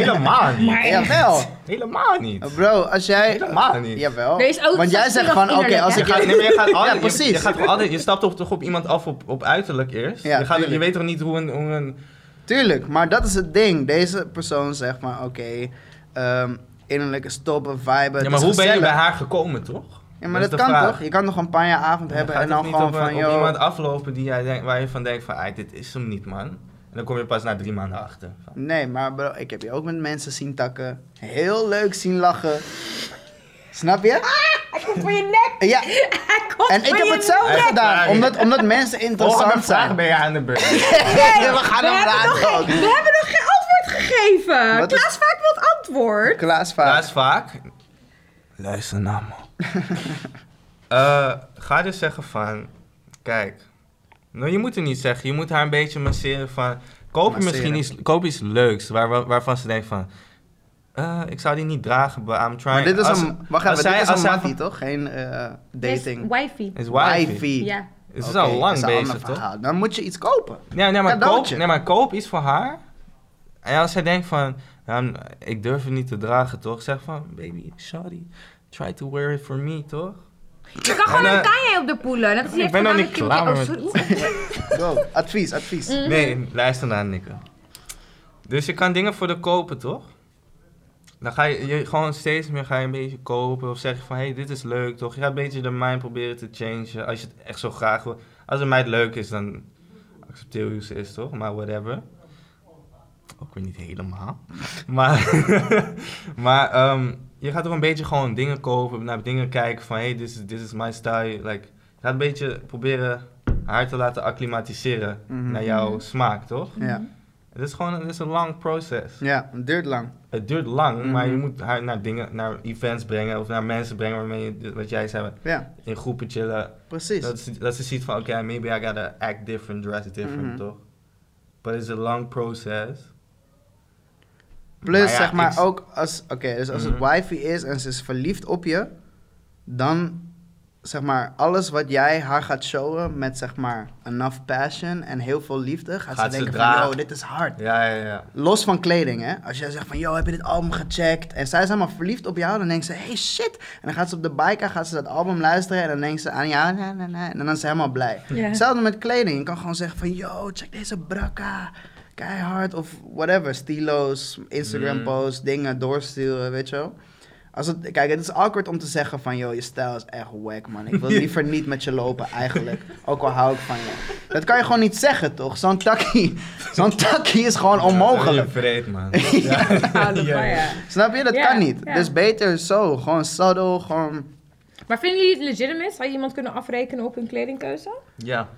<laughs> Helemaal niet. Maar- Jawel. Helemaal niet. Bro, als jij... <laughs> Helemaal niet. Jawel. Er is ook Want jij verschil zegt van, in oké, innerlijk, als hè? Je ik... gaat, nee, maar je <laughs> gaat altijd, Ja, precies. Oh, Je, je, gaat toch altijd, je stapt toch, toch op iemand af op, op uiterlijk eerst? Ja, je, gaat, je tuurlijk. weet toch niet hoe een, hoe een Tuurlijk, maar dat is het ding. Deze persoon zegt van, oké, ehm, innerlijke stoppen, vibe, het Ja, is maar hoe ben je gezellig. bij haar gekomen, toch? Ja, maar is dat, de kan vraag. toch? Je kan nog een paar jaar avond Je hebben gaat en toch dan niet gewoon op, een- van, op joh... iemand aflopen die jij denkt, waar je van denkt van, "Ai, dit is hem niet, man. En dan kom je pas na drie maanden achter. Van, Nee, maar bro, ik heb je ook met mensen zien takken. Heel leuk zien lachen. Snap je? Hij komt voor je nek. Ja, <laughs> Hij komt en ik voor heb je het zelf Hij is gedaan, klaar. omdat, omdat mensen Volgende interessant vraag zijn. ben je aan de <laughs> beurt. Ja, we gaan We hem hebben, nog raken ook. geen, we hebben nog geen antwoord gegeven. Wat is- Klaas vaak wil het antwoord. Klaas vaak. Klaas vaak. Luister nou, man. <laughs> Eh, ga dus zeggen van, kijk. Nou, je moet er niet zeggen. Je moet haar een beetje masseren van, koop je Masseren. misschien iets, koop iets leuks waar, waar- waarvan ze denkt van, eh, ik zou die niet dragen, but I'm trying. Maar dit is Als- een, wacht als even, dit zij- is als een zij mattie toch? Geen eh, Yes, dating. Wifey. Is wifey. Wifey. Ja. Het is Oké, al lang is een ander bezig, toch? verhaal. Dan moet je iets kopen. Nee, nee, maar koop, Cadeautje. nee, maar koop iets voor haar. En als zij denkt van, nou, ik durf het niet te dragen, toch? Zeg van, baby, sorry, try to wear it for me, toch? Je kan gewoon En, een eh, kanje op de poelen. Dat is ik ben nog niet klaar Oh, met- sorry. Oeh, Go. Advies, advies. Mm. Nee, luister naar Nikke. Dus je kan dingen voor de kopen, toch? Dan ga je, je gewoon steeds meer ga je een beetje kopen. Of zeg je van, hé, hey, dit is leuk, toch? Je gaat een beetje de mind proberen te changen. Als je het echt zo graag wil. Als een meid leuk is, dan accepteer je hoe ze is, toch? Maar whatever. Ook weer niet helemaal. <laughs> Maar, <laughs> maar ehm, je gaat toch een beetje gewoon dingen kopen, naar dingen kijken van hey, this is, this is my style. Like, je gaat een beetje proberen haar te laten acclimatiseren Mhm. naar jouw smaak, toch? Ja. Het is gewoon het is een lang proces. Ja, het duurt lang. Het duurt lang, maar je Mhm. moet haar naar dingen, naar events brengen of naar mensen brengen waarmee je, wat jij zei, Ja, in groepen chillen. precies. Dat, ze- dat ze ziet van, oké, maybe I gotta act different, dress different, Mhm. toch? But it's a long process. Plus, Maar ja, zeg maar, ik- ook als, oké, dus als Mhm. het wifey is en ze is verliefd op je, dan, zeg maar, alles wat jij haar gaat showen met, zeg maar, enough passion en heel veel liefde, gaat, Gaat ze ze denken dragen. van, yo, dit is hard. Ja, ja, ja. Los van kleding, hè. Als jij zegt van, yo, heb je dit album gecheckt? En zij is helemaal verliefd op jou, dan denkt ze, hey, shit. En dan gaat ze op de bike, gaat ze dat album luisteren en dan denkt ze aan, ja, nee, nee, nee. En dan is ze helemaal blij. Ja. Hetzelfde met kleding. Je kan gewoon zeggen van, yo, check deze brakka. Keihard of whatever. Stilo's, Instagram Mm. posts, dingen doorsturen, weet je wel. Als het, kijk, het is awkward om te zeggen van, yo, je stijl is echt wack, man. Ik wil liever niet met je lopen, eigenlijk. Ook al hou ik van je. Dat kan je gewoon niet zeggen, toch? Zo'n takkie, zo'n takkie is gewoon Je onmogelijk. vreet, <laughs> man. Ja, <laughs> dat Ja. maar, ja. Snap je? Dat Ja, kan niet. ja. Dus beter zo. Gewoon subtle, gewoon... maar vinden jullie het legitimate? Zou je iemand kunnen afrekenen op hun kledingkeuze? Ja.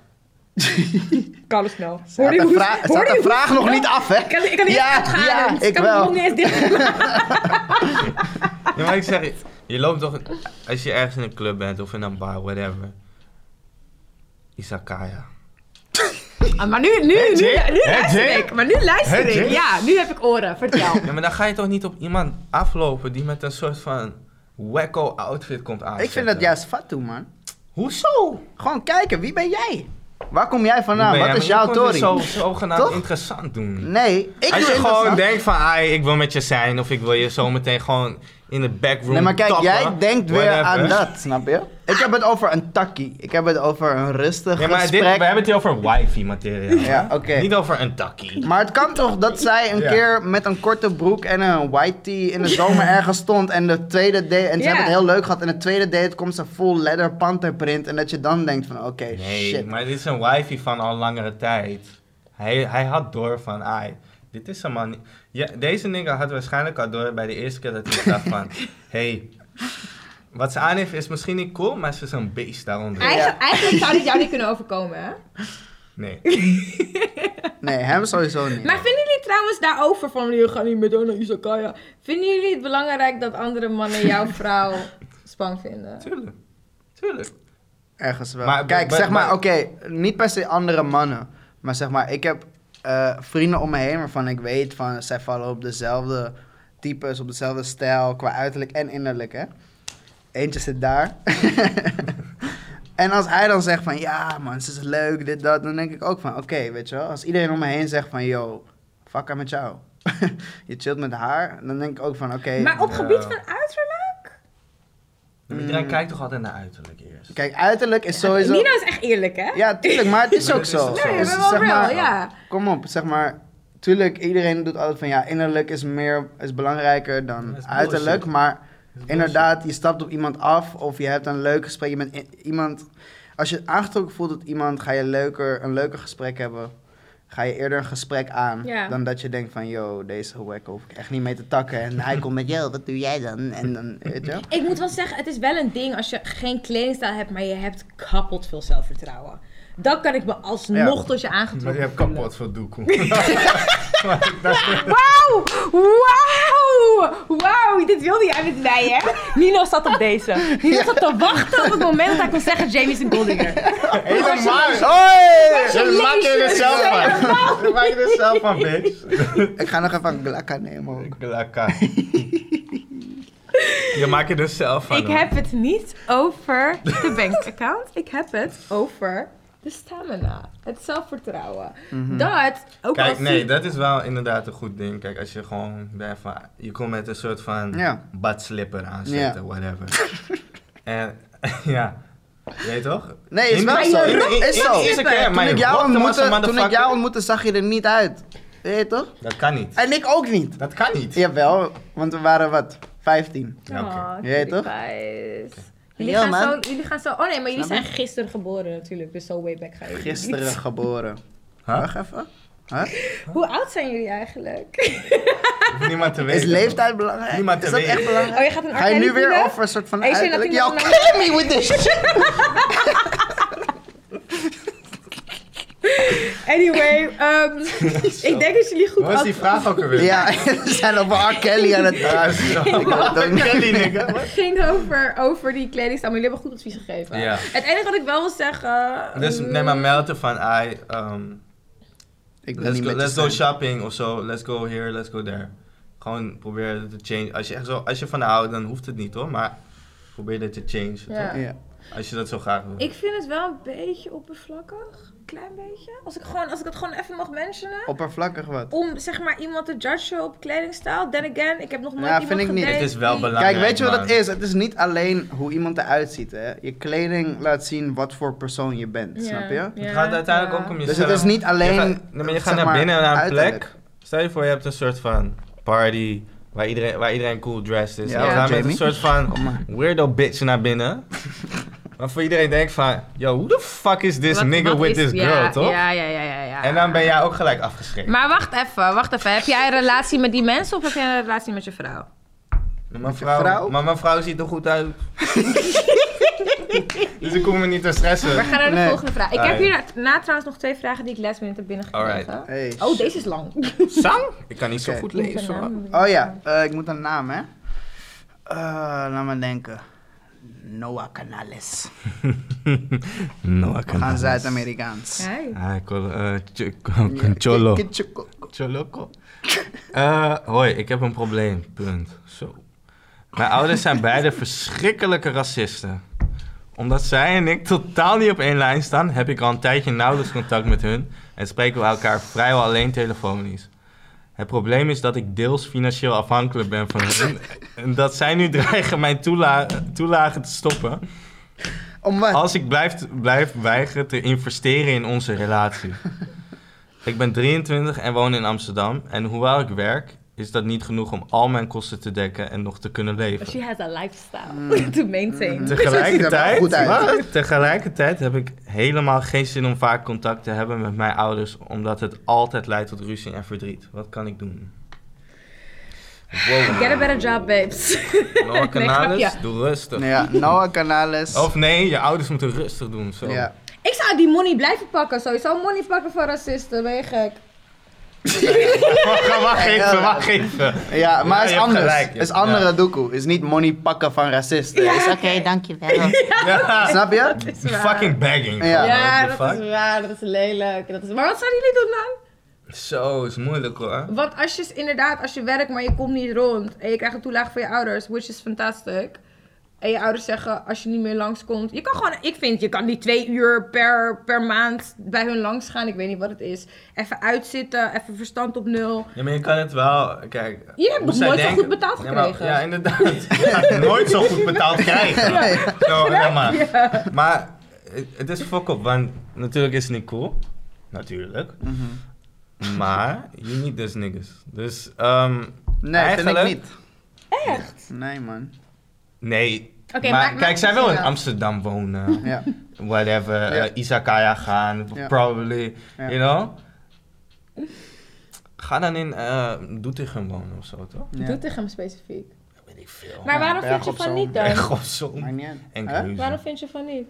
Carlos, no. Ze had, Hoor je de, hoe- vra- ze hoor had je de hoe- vraag nog niet af, hè? Ik kan, ik kan niet Ja, opgaan. ja, Het ik kan wel. mijn mond niet eens dicht. Ja, maar ik zeg, je loopt toch, als je ergens in een club bent of in een bar, whatever. Isakaya. Ah, maar nu, nu, nu, nu, Jake? Hè, luister Jake? ik. Maar nu luister Hè, ik. Jake? Ja, nu heb ik oren. <laughs> Vertel. Ja, maar dan ga je toch niet op iemand aflopen die met een soort van wacko outfit komt aan. Ik vind dat juist fatu, man. Hoezo? Gewoon kijken, wie ben jij? Waar kom jij vandaan? Ben jij- Wat is maar jouw je kon het tory? Zo, zogenaamd Toch? interessant doen. Nee, ik Als doe je gewoon interessant. denkt van, ai, ik wil met je zijn of ik wil je zometeen gewoon in de backroom Nee, maar kijk, tappen, jij denkt weer whatever. aan dat, snap je? Ik heb het over een takkie. Ik heb het over een rustig Ja, maar dit, gesprek. we hebben het hier over wifi materiaal. Ja, oké. Niet over een takkie. Maar het kan toch dat zij een Ja. keer met een korte broek en een white tee in de zomer ergens stond en de tweede date en ze Ja. hebben het heel leuk gehad en de tweede date komt ze full leather panterprint en dat je dan denkt van oké Nee, shit. maar dit is een wifi van al langere tijd. Hij, hij had door van, ai, dit is een man. niet- Ja, deze nigga had waarschijnlijk al door bij de eerste keer dat hij dacht <laughs> van, hey, wat ze aan heeft is misschien niet cool, maar ze is een beest daaronder. Eigen- Eigenlijk zou dit jou niet kunnen overkomen, hè? Nee. Nee, hem sowieso niet. Maar vinden jullie trouwens daarover van jullie gaan niet meer door naar Izakaya? Vinden jullie het belangrijk dat andere <laughs> mannen jouw vrouw spang vinden? Tuurlijk. Tuurlijk. Ergens wel. Maar- Kijk, maar- zeg maar, maar- oké, niet per se andere mannen. Maar zeg maar, ik heb eh, vrienden om me heen waarvan ik weet van zij vallen op dezelfde types, op dezelfde stijl, qua uiterlijk en innerlijk, hè. Eentje zit daar. <laughs> en als hij dan zegt van ja, man, ze is leuk, dit, dat, dan denk ik ook van oké, weet je wel. Als iedereen om me heen zegt van yo, fuck haar met jou. <laughs> je chillt met haar, dan denk ik ook van oké. Maar op Ja. gebied van uiterlijk? Maar Iedereen Mm. kijkt toch altijd naar uiterlijk eerst. Kijk, uiterlijk is sowieso. Nina is echt eerlijk, hè? Ja, tuurlijk, maar het is Maar ook dat zo. is toch <laughs> Nee, zo. we Dus hebben wel zeg maar, real, ja. Kom op, zeg maar. Tuurlijk, iedereen doet altijd van ja, innerlijk is, meer, is belangrijker dan Dat is uiterlijk. bullshit. Maar Dat is inderdaad, je stapt op iemand af of je hebt een leuk gesprek. Je bent i- iemand, als je aangetrokken voelt tot iemand, ga je leuker, een leuker gesprek hebben. Ga je eerder een gesprek aan Ja. dan dat je denkt van yo, deze wek hoef ik echt niet mee te takken. En hij komt met yo, wat doe jij dan? En dan, weet je wel. Ik moet wel zeggen, het is wel een ding als je geen kledingstijl hebt, maar je hebt kapot veel zelfvertrouwen. Dan kan ik me alsnog Ja. tot je aangetrokken veel <laughs> doekoe. Wauw! Wauw! Wauw! Dit wilde jij met mij, hè? Nino zat op deze. Nino zat te wachten op het moment dat hij kon zeggen... Jamie is een Goldinger. Helemaal! Hoi! Ze maken er zelf van. Ze maken er zelf <laughs> van, bitch. Ik ga nog even een glakka nemen ook. <laughs> Lekker. Je maakt er dus zelf van. Ik hoor. heb het niet over de bankaccount. Ik heb het over de stamina. Het zelfvertrouwen. Dat, ook Kijk, als nee, je- dat is wel inderdaad een goed ding. Kijk, als je gewoon bent van... Je komt met een soort van Ja. badslipper <laughs> aanzetten, whatever. en, <laughs> ja. Je weet toch? Nee, is In- wel in- zo. in- in- Is in- zo. in- is een keer, Toen maar ik, je jou walked hem als een ontmoette, toen ik jou motherfucker. ontmoette, zag je er niet uit. Weet je toch? Dat kan niet. En ik ook niet. Dat kan niet. Jawel, want we waren wat? 15. Ja, oké. Oh, Jij toch? cuties. Jullie, Ja, gaan man. zo, jullie gaan zo... Oh nee, maar jullie Snap je? zijn gisteren geboren natuurlijk. Dus zo way back ga je Gisteren geboren. Huh? Wacht even. <laughs> Hoe oud zijn jullie <laughs> eigenlijk? Hoeft niemand te weten. Is <laughs> leeftijd belangrijk? Niemand is te dat weten. echt Oh, je belangrijk? gaat een Ga je nu arcade weer doen? over een soort van Hey, zin dat uiterlijk? Y'all iemand killing me with this shit. <laughs> Anyway, <laughs> ehm, ik denk dat jullie goed Hoe is die antwoorden. vraag ook alweer? <laughs> Ja, <laughs> we zijn over R. Kelly aan het... Ja, zo. Kelly, nigga. <laughs> Wat? Het ging over, over die kledingstijl, maar jullie hebben goed advies gegeven. Ja. Het enige wat ik wel wil zeggen... Dus ehm, neem maar melden van, I, um, Ik ben let's, niet go, met je let's go staan. shopping of zo, let's go here, let's go there. Gewoon probeer te change. Als je, echt zo, als je van houdt, dan hoeft het niet hoor, maar probeer dit te change. Ja. Ja. Als je dat zo graag wil. Ik vind het wel een beetje oppervlakkig. Een klein beetje. Als ik, gewoon, als ik het gewoon even mag mentionen. Oppervlakkig wat. Om zeg maar iemand te judgen op kledingstijl. Then again, ik heb nog nooit Ja, iemand vind ik niet. gedate Het is wel die- belangrijk. Kijk, weet je wat man. het is? Het is niet alleen hoe iemand eruit ziet, hè. Je kleding laat zien wat voor persoon je bent, Ja, snap je? ja, Het gaat uiteindelijk ja. ook om Dus jezelf. het is niet alleen... Je gaat, nee, maar je zeg gaat naar maar, binnen naar een uiterlijk. plek. Stel je voor, je hebt een soort van party waar iedereen, waar iedereen cool dressed is. Ja, en je ja. gaat met een Jamie. soort van Kom maar. weirdo bitch naar <laughs> binnen. Waarvoor iedereen denkt van, yo, who the fuck is this Wat- nigga wat with is- this girl, ja, toch? Ja, ja, ja, ja, ja. En dan ben jij ook gelijk afgeschreven. Maar wacht even, wacht even. Heb jij een relatie met die mensen of heb jij een relatie met je vrouw? mijn vrouw, vrouw? Maar mijn vrouw ziet er goed uit. <laughs> dus ik hoef me niet te We stressen. gaan naar de Nee. volgende vraag. Ik Ah, heb ja. hier na trouwens nog twee vragen die ik last minute heb binnengekregen. Hey, Oh, shit. deze is lang. Sam? Ik kan niet zo Oké. goed lezen. hoor. Oh ja, eh, ik moet een naam, hè? Eh, laat me denken. Noah Canales. No, Nou, ik We gaan Zuid-Amerikaans. Hey. Ah, ik wil eh, ch- Ja, concholo. ki- ki- choco- <laughs> Choloco. Eh, hoi, ik heb een probleem. Punt. Zo. Mijn ouders zijn beide verschrikkelijke racisten. Omdat zij en ik totaal niet op één lijn staan, heb ik al een tijdje nauwelijks contact met hun en spreken we elkaar vrijwel alleen telefonisch. Het probleem is dat ik deels financieel afhankelijk ben van hen en dat zij nu dreigen mijn toela- toelagen te stoppen Om wat? als ik blijf, blijf weigeren te investeren in onze relatie. Ik ben 23 en woon in Amsterdam. En hoewel ik werk, is dat niet genoeg om al mijn kosten te dekken en nog te kunnen <laughs> leven. She has a lifestyle Mm. <laughs> to maintain. Ziet er wel Tegelijkertijd, goed uit. Wat? tegelijkertijd heb ik helemaal geen zin om vaak contact te hebben met mijn ouders, omdat het altijd leidt tot ruzie en verdriet. Wat kan ik doen? Wow. <laughs> Get a better job, babes. Noah Canales, grapje. doe rustig. Nee, Nou ja, Noah Canales. Of nee, je ouders moeten rustig doen. Zo. Ja. Ik zou die money blijven pakken. Sowieso money pakken voor racisten. Ben je gek? <laughs> Wacht, wacht even, wacht <laughs> even. ja, maar Ja, het je is hebt anders. gelijk, je is hebt- andere doekoe. Is niet money pakken van racisten. Is oké, dankjewel. Ja. Snap je? Dat is waar. Fucking bagging. Ja. gewoon, what the Ja, dat fuck? is waar. Dat is lelijk. Dat is... Maar wat zouden jullie doen dan? Zo, is moeilijk hoor. Want als je inderdaad, als je werkt, maar je komt niet rond. En je krijgt een toelage van je ouders, which is fantastic. En je ouders zeggen, als je niet meer langskomt. Je kan gewoon, ik vind, je kan die twee uur per, per maand bij hun langs gaan. Ik weet niet wat het is. Even uitzitten, even verstand op nul. Ja, maar je kan het wel, kijk. Je hebt hoe nog zij nooit zo denken- goed betaald Ja, maar- gekregen. Ja, inderdaad. <laughs> Je gaat nooit zo goed betaald krijgen. Zo, ja, <laughs> maar. Maar het- het is fuck op, want natuurlijk is het niet cool. Natuurlijk. Mhm. Maar you need this niggas. Dus, ehm Nee, Eigenlijk- vind ik niet. Echt? Nee, man. nee. maar Oké, maak- maak kijk, zij wil in verschil. Amsterdam wonen. Ja. Whatever. Ja. eh, izakaya gaan. Ja. Probably. Ja. You know? Ga dan in eh Doetinchem wonen of zo, toch? ja. Doe tegen hem specifiek. Weet ik veel. Maar waarom berg vind je op van zo'n niet <laughs> dan? Echt op zo'n Maakt niet uit. en Hè? keuze. Waarom vind je van niet?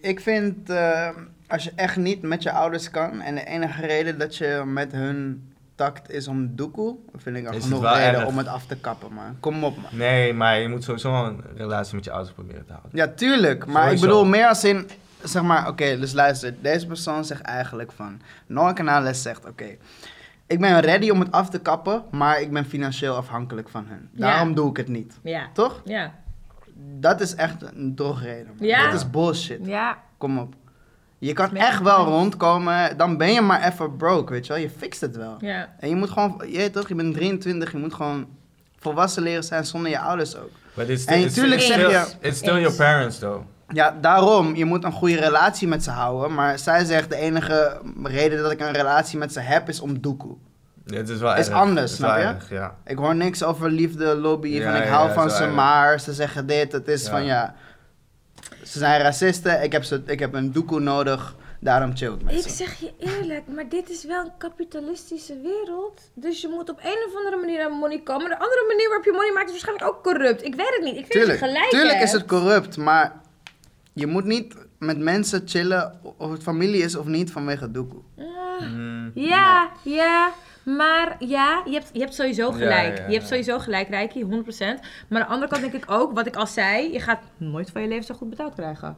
Ik vind, eh, als je echt niet met je ouders kan en de enige reden dat je met hun tact is om doekoe, vind ik al Is het genoeg wel reden erg. om het af te kappen, man. Kom op, man. Nee, maar je moet sowieso een relatie met je ouders proberen te houden. Ja, tuurlijk, maar Sowieso. ik bedoel meer als in, zeg maar, oké, dus luister, deze persoon zegt eigenlijk van, Noah Canales zegt, oké, ik ben ready om het af te kappen, maar ik ben financieel afhankelijk van hun. Ja. Daarom doe ik het niet. Ja. Toch? Ja. Dat is echt een drogreden. man. Ja. Dat is bullshit. Ja. Kom op. Je kan Ben ik echt wel mee. rondkomen, dan ben je maar even broke, weet je wel. Je fixt het wel. Ja. En je moet gewoon, je weet toch, je bent 23, je moet gewoon volwassen leren zijn zonder je ouders ook. Maar dit is En tuurlijk zeg still, je- It's still your parents, though. Ja, daarom, je moet een goede relatie met ze houden, maar zij zegt de enige reden dat ik een relatie met ze heb is om doekoe. Dit is wel Is erg. anders, Het is snap wel je? erg, ja. Ik hoor niks over liefde, lobby, Ja, van ik ja, hou ja, van zo ze, eigenlijk. maar ze zeggen dit, het is Ja. van ja, ze zijn racisten, ik heb, ze, ik heb een doekoe nodig, Daarom chill ik met Ik ze. zeg je eerlijk, maar dit is wel een kapitalistische wereld. Dus je moet op een of andere manier aan money komen. De andere manier waarop je money maakt is waarschijnlijk ook corrupt. Ik weet het niet. Ik vind Tuurlijk, dat je gelijk tuurlijk hebt. is het corrupt, maar je moet niet met mensen chillen of het familie is of niet vanwege doekoe. Ah. Mm, Ja, ja. Maar ja, je hebt, je hebt sowieso Ja, gelijk. ja, Je hebt ja. sowieso gelijk, Rijkie, 100%. Maar aan de andere kant denk ik ook, wat ik al zei, je gaat nooit van je leven zo goed betaald <laughs> krijgen.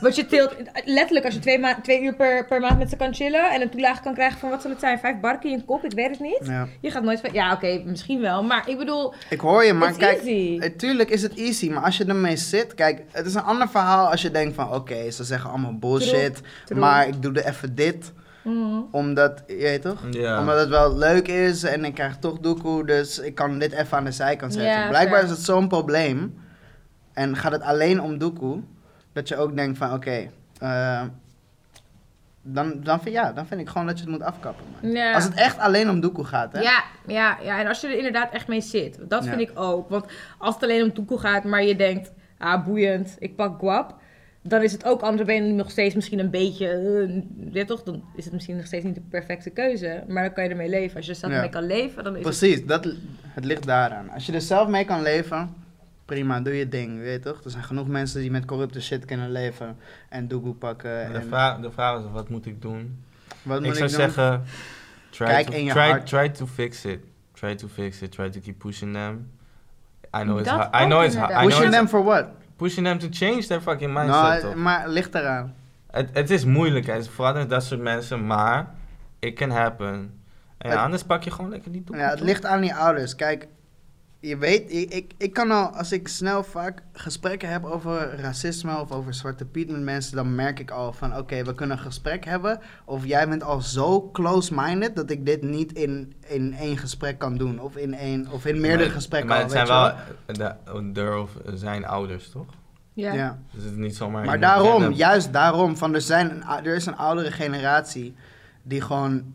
Want je tilt, letterlijk, als je twee, ma- twee uur per, per maand met ze kan chillen en een toelage kan krijgen van wat zal het zijn, vijf barken in je kop, ik weet het niet. Ja. Je gaat nooit van, ja oké, misschien wel, maar ik bedoel, Ik hoor je, maar It's kijk, easy. natuurlijk is het easy, maar als je ermee zit, kijk, het is een ander verhaal als je denkt van, oké, ze zeggen allemaal bullshit, true. maar ik doe er even dit, mm, omdat, je weet toch? Ja. Omdat het wel leuk is en ik krijg toch doekoe, dus ik kan dit even aan de zijkant zetten. Ja, Blijkbaar fair. is het zo'n probleem en gaat het alleen om doekoe, dat je ook denkt van, oké, eh, dan, dan, vind, ja, dan vind ik gewoon dat je het moet afkappen. man. Ja. Als het echt alleen om doekoe gaat, hè? Ja, ja, ja, en als je er inderdaad echt mee zit. want Dat Ja. vind ik ook. Want als het alleen om toekoe gaat, maar je denkt, ah, boeiend, ik pak guap. Dan is het ook, anders ben je nog steeds misschien een beetje, eh, ja toch, dan is het misschien nog steeds niet de perfecte keuze. Maar dan kan je ermee leven. Als je er zelf Ja. mee kan leven, dan is het... Precies, dat, het ligt daaraan. Als je er zelf mee kan leven, prima, doe je ding, weet je toch? Er zijn genoeg mensen die met corrupte shit kunnen leven en doekoe pakken. De, En vraag, de vraag is, wat moet ik doen? wat Ik moet ik, zou doen? zeggen, try, Kijk to, in je try, hart. try to fix it. Try to fix it. Try to keep pushing them. I know it's Dat hard. I ook know it's hard. inderdaad. I know Pushing it's- them for what? Pushing them to change their fucking mindset, Nou, toch? maar ligt eraan. Het, het is moeilijk, hè. vooral met dat soort mensen, maar it can happen. En Het- anders pak je gewoon lekker die doek. Ja, het ligt aan die ouders. Kijk, je weet, ik, ik, ik kan al, als ik snel vaak gesprekken heb over racisme of over Zwarte Piet met mensen, dan merk ik al van, oké, we kunnen een gesprek hebben. Of jij bent al zo close-minded dat ik dit niet in, in één gesprek kan doen. Of in, één, of in meerdere gesprekken. Maar al, het weet zijn je wel, eh, de, de- of zijn ouders, toch? Ja. wel. Ja. Dus het is niet zomaar... Maar iemand daarom, random. juist daarom, van er, zijn, een ou- er is een oudere generatie die gewoon